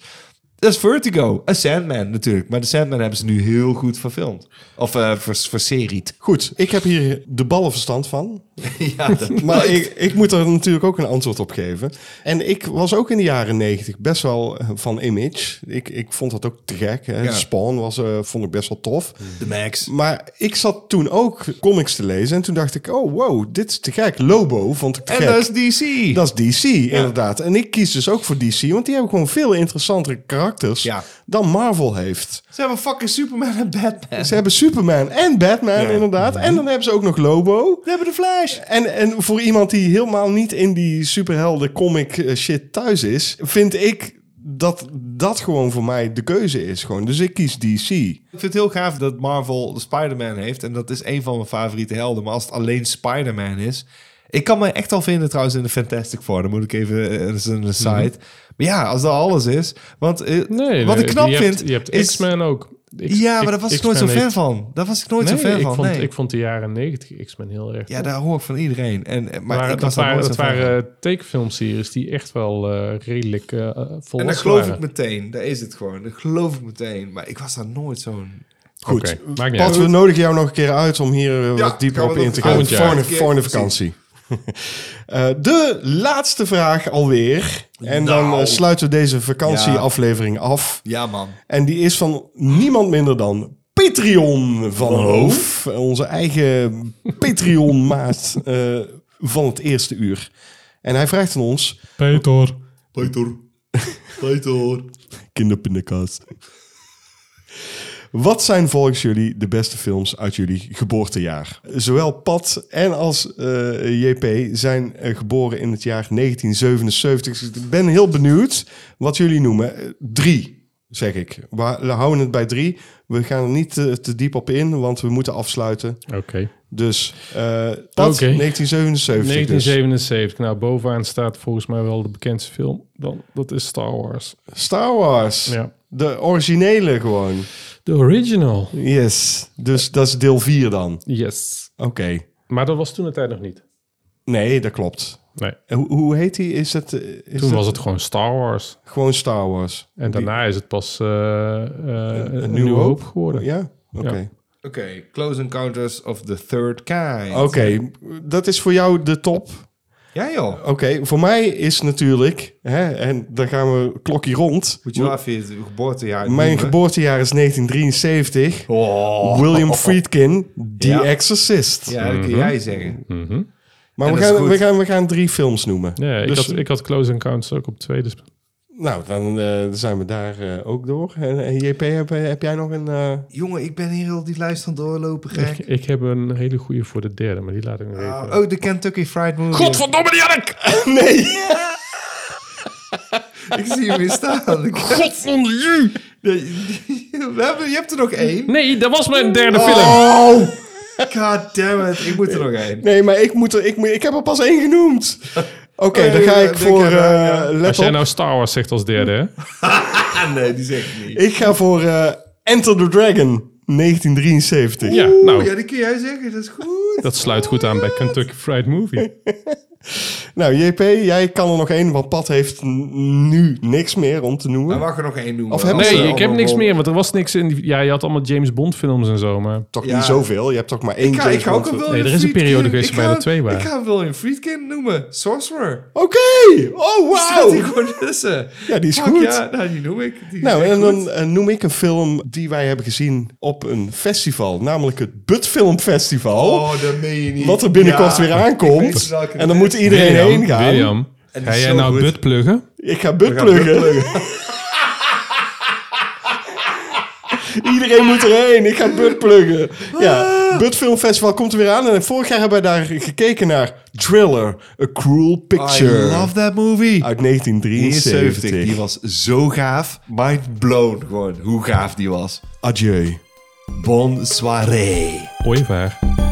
S2: Dat is Vertigo. A Sandman natuurlijk. Maar de Sandman hebben ze nu heel goed verfilmd. Of eh vers- verseried.
S1: Goed, ik heb hier de ballenverstand van.
S2: ja, dat
S1: Maar ik, ik moet er natuurlijk ook een antwoord op geven. En ik was ook in de jaren negentig best wel eh, van image. Ik, ik vond dat ook te gek. Hè.
S2: Ja.
S1: Spawn was, eh, vond ik best wel tof.
S2: de Max.
S1: Maar ik zat toen ook comics te lezen. En toen dacht ik, oh wow, dit is te gek. Lobo vond ik te
S2: En
S1: gek.
S2: dat is DC.
S1: Dat is DC, inderdaad. En ik kies dus ook voor DC. Want die hebben gewoon veel interessantere karakters
S2: Ja.
S1: dan Marvel heeft.
S2: Ze hebben fucking Superman en Batman.
S1: Ze hebben Superman en Batman,
S2: Ja.
S1: inderdaad. En dan hebben ze ook nog Lobo.
S2: Ze hebben de Flash.
S1: En, en voor iemand die helemaal niet in die superhelden comic eh, shit thuis is, vind ik dat dat gewoon voor mij de keuze is. Gewoon. Dus ik kies DC.
S2: Ik vind het heel gaaf dat Marvel de Spider-Man heeft. En dat is een van mijn favoriete helden. Maar als het alleen Spider-Man is... Ik kan me echt al vinden trouwens in de Fantastic Four. Dan moet ik even eh, eens
S3: Mhm.
S2: een site. Maar ja, als dat alles is. Want eh,
S3: Nee,
S2: wat
S3: nee,
S2: ik knap
S3: je
S2: vind
S3: Hebt, je hebt
S2: is...
S3: X-Men ook. X-
S2: Ja, maar daar was ik nooit zo
S3: X-Men
S2: fan
S3: heeft-
S2: van. Daar was ik nooit
S3: Nee,
S2: zo fan
S3: ik
S2: van.
S3: Vond,
S2: nee.
S3: Ik vond de jaren 90 X-Men heel erg.
S2: Ja, daar hoor ik van iedereen. En, eh, maar
S3: Maar
S2: ik
S3: dat
S2: was daar
S3: waren,
S2: nooit zo
S3: dat
S2: fan van.
S3: waren tekenfilmseries die echt wel eh, redelijk eh volwassen
S2: En dat geloof
S3: waren.
S2: ik meteen. Daar is het gewoon. Dat geloof ik meteen. Maar ik was daar nooit zo'n...
S1: Goed.
S3: Oké, maakt niet
S1: Pat,
S3: uit.
S1: we nodigen jou nog een keer uit om hier eh, wat dieper
S2: gaan we
S1: op
S2: dat
S1: in te gaan.
S2: volgend jaar.
S1: Volgende, volgende vakantie. Eh, de laatste vraag alweer. En dan eh, sluiten we deze vakantieaflevering af.
S2: Nou. Ja, man.
S1: En die is van niemand minder dan Patreon van Hoof. Onze eigen Patreon-maat eh, van het eerste uur. En hij vraagt aan ons...
S3: Peter.
S1: Peter, Peter. Kinderpindakaas. Wat zijn volgens jullie de beste films uit jullie geboortejaar? Zowel Pat en als eh, JP zijn eh, geboren in het jaar 1977. Dus ik ben heel benieuwd wat jullie noemen. Eh, drie, zeg ik. We we houden het bij drie. We gaan er niet te, te diep op in, want we moeten afsluiten.
S3: Oké.
S1: Dus eh Pat,
S3: Oké.
S1: 1977 dus.
S3: 1977. Nou, bovenaan staat volgens mij wel de bekendste film. Dan, dat is Star Wars.
S1: Star Wars.
S3: Ja.
S1: De originele gewoon.
S3: De original.
S1: Yes, dus dat is deel 4 dan.
S3: Yes.
S1: Oké.
S3: Maar dat was toen de tijd nog niet.
S1: Nee, dat klopt.
S3: Nee.
S1: En Hoe, hoe heet die? Is het, eh, is
S3: Toen
S1: het
S3: was het gewoon Star Wars.
S1: gewoon Star Wars?
S3: En daarna is het pas eh eh,
S1: New
S3: een nieuwe hoop
S1: Hope?
S3: geworden.
S1: Ja? Oké.
S3: Ja.
S2: Oké, Close Encounters of the Third Kind.
S1: Oké, dat is voor jou de top.
S2: Ja joh.
S1: Oké, voor mij is natuurlijk, hè, en daar gaan we klokje rond.
S2: Moet je wel even je geboortejaar
S1: Mijn
S2: noemen.
S1: geboortejaar is 1973.
S2: Oh.
S1: William Friedkin, The
S2: Ja.
S1: Exorcist.
S2: Ja, dat kun jij zeggen.
S3: Mhm.
S1: Maar
S2: En
S1: we
S2: dat is
S1: gaan, we,
S2: goed.
S1: gaan, we gaan drie films noemen.
S3: Ja, ik,
S1: Dus-
S3: had, ik had Close Encounters ook op dus tweede. sp-
S1: Nou, dan eh, zijn we daar eh, ook door. En, en JP, heb, heb jij nog een... eh,
S2: Jongen, ik ben hier heel die lijst aan het doorlopen,
S3: Ik,
S2: gek.
S3: ik heb een hele goede voor de derde, maar die laat ik nog even.
S2: Oh, oh, de Kentucky Fried Movie.
S7: Godverdomme, die had ik!
S1: Nee!
S2: Ik zie hem weer staan. Ik-
S7: Godverdomme, je!
S2: Nee, We hebben, je hebt er nog één.
S3: Nee, dat was mijn derde film.
S1: Oh!
S2: God damn it, ik moet er nog één.
S1: Nee, maar ik, moet er, ik, moet- ik heb er pas één genoemd. Oké, dan ga
S2: nee,
S1: ik
S2: nee,
S1: voor...
S2: denk aan,
S1: eh,
S3: Als
S1: let
S3: jij
S1: op.
S3: nou Star Wars zegt als derde, hè?
S2: Ah nee, die zeg ik niet.
S1: Ik ga voor eh, Enter the Dragon, 1973.
S3: Ja,
S2: Oeh, Oh, ja,
S3: nou,
S2: die kun jij zeggen, dat is goed.
S3: dat sluit goed aan bij Kentucky Fried Movie.
S1: Nou, JP, jij kan er nog één, want Pat heeft n- nu niks meer om te
S2: Dan
S1: noemen.
S2: mag er nog één eh, doen.
S1: Of heb
S3: Nee,
S1: Zo,
S3: ik heb niks meer, want er was niks in die... Ja, je had allemaal James Bond films en zo, maar...
S1: Toch
S2: Ja.
S1: niet zoveel, je hebt toch maar één
S2: Ik ga,
S1: James
S2: ik ga ook
S1: Bond
S2: een
S1: film.
S2: William
S3: Nee, er is een
S2: Friedkin.
S3: periode geweest
S2: Ik
S3: waarbij
S2: ga-
S3: er twee waren.
S2: Ik ga William Friedkin noemen. Sorcerer.
S1: Oké! Oh,
S2: Staat hij
S1: wauw!
S2: gewoon tussen.
S1: Ja, die is
S2: Fuck
S1: goed.
S2: Ja, nou, die noem ik. Die is
S1: Nou,
S2: echt
S1: en dan
S2: goed.
S1: eh, noem ik een film die wij hebben gezien op een festival. Namelijk het Bud Film Festival.
S2: Oh, dat meen je niet.
S1: wat er binnenkort
S2: Ja,
S1: weer
S2: ik weet
S1: aankomt.
S2: welke
S1: En
S2: het
S1: dan moet
S2: is.
S1: iedereen heen
S3: William,
S1: gaan.
S3: William,
S2: En die
S3: ga
S2: is
S3: jij
S2: zo
S3: nou
S2: goed.
S3: Bud pluggen?
S1: Ik ga Bud pluggen. Iedereen moet erheen. Ik ga Bud pluggen. Ja,
S2: Ah.
S1: Bud Film Festival komt er weer aan. En vorig jaar hebben wij daar gekeken naar Thriller, A Cruel Picture.
S2: I love that movie.
S1: Uit
S2: 73,
S1: 1973.
S2: die was zo gaaf. Mind blown gewoon hoe gaaf die was.
S1: Adieu.
S2: Bon soirée.
S3: Ooievaar.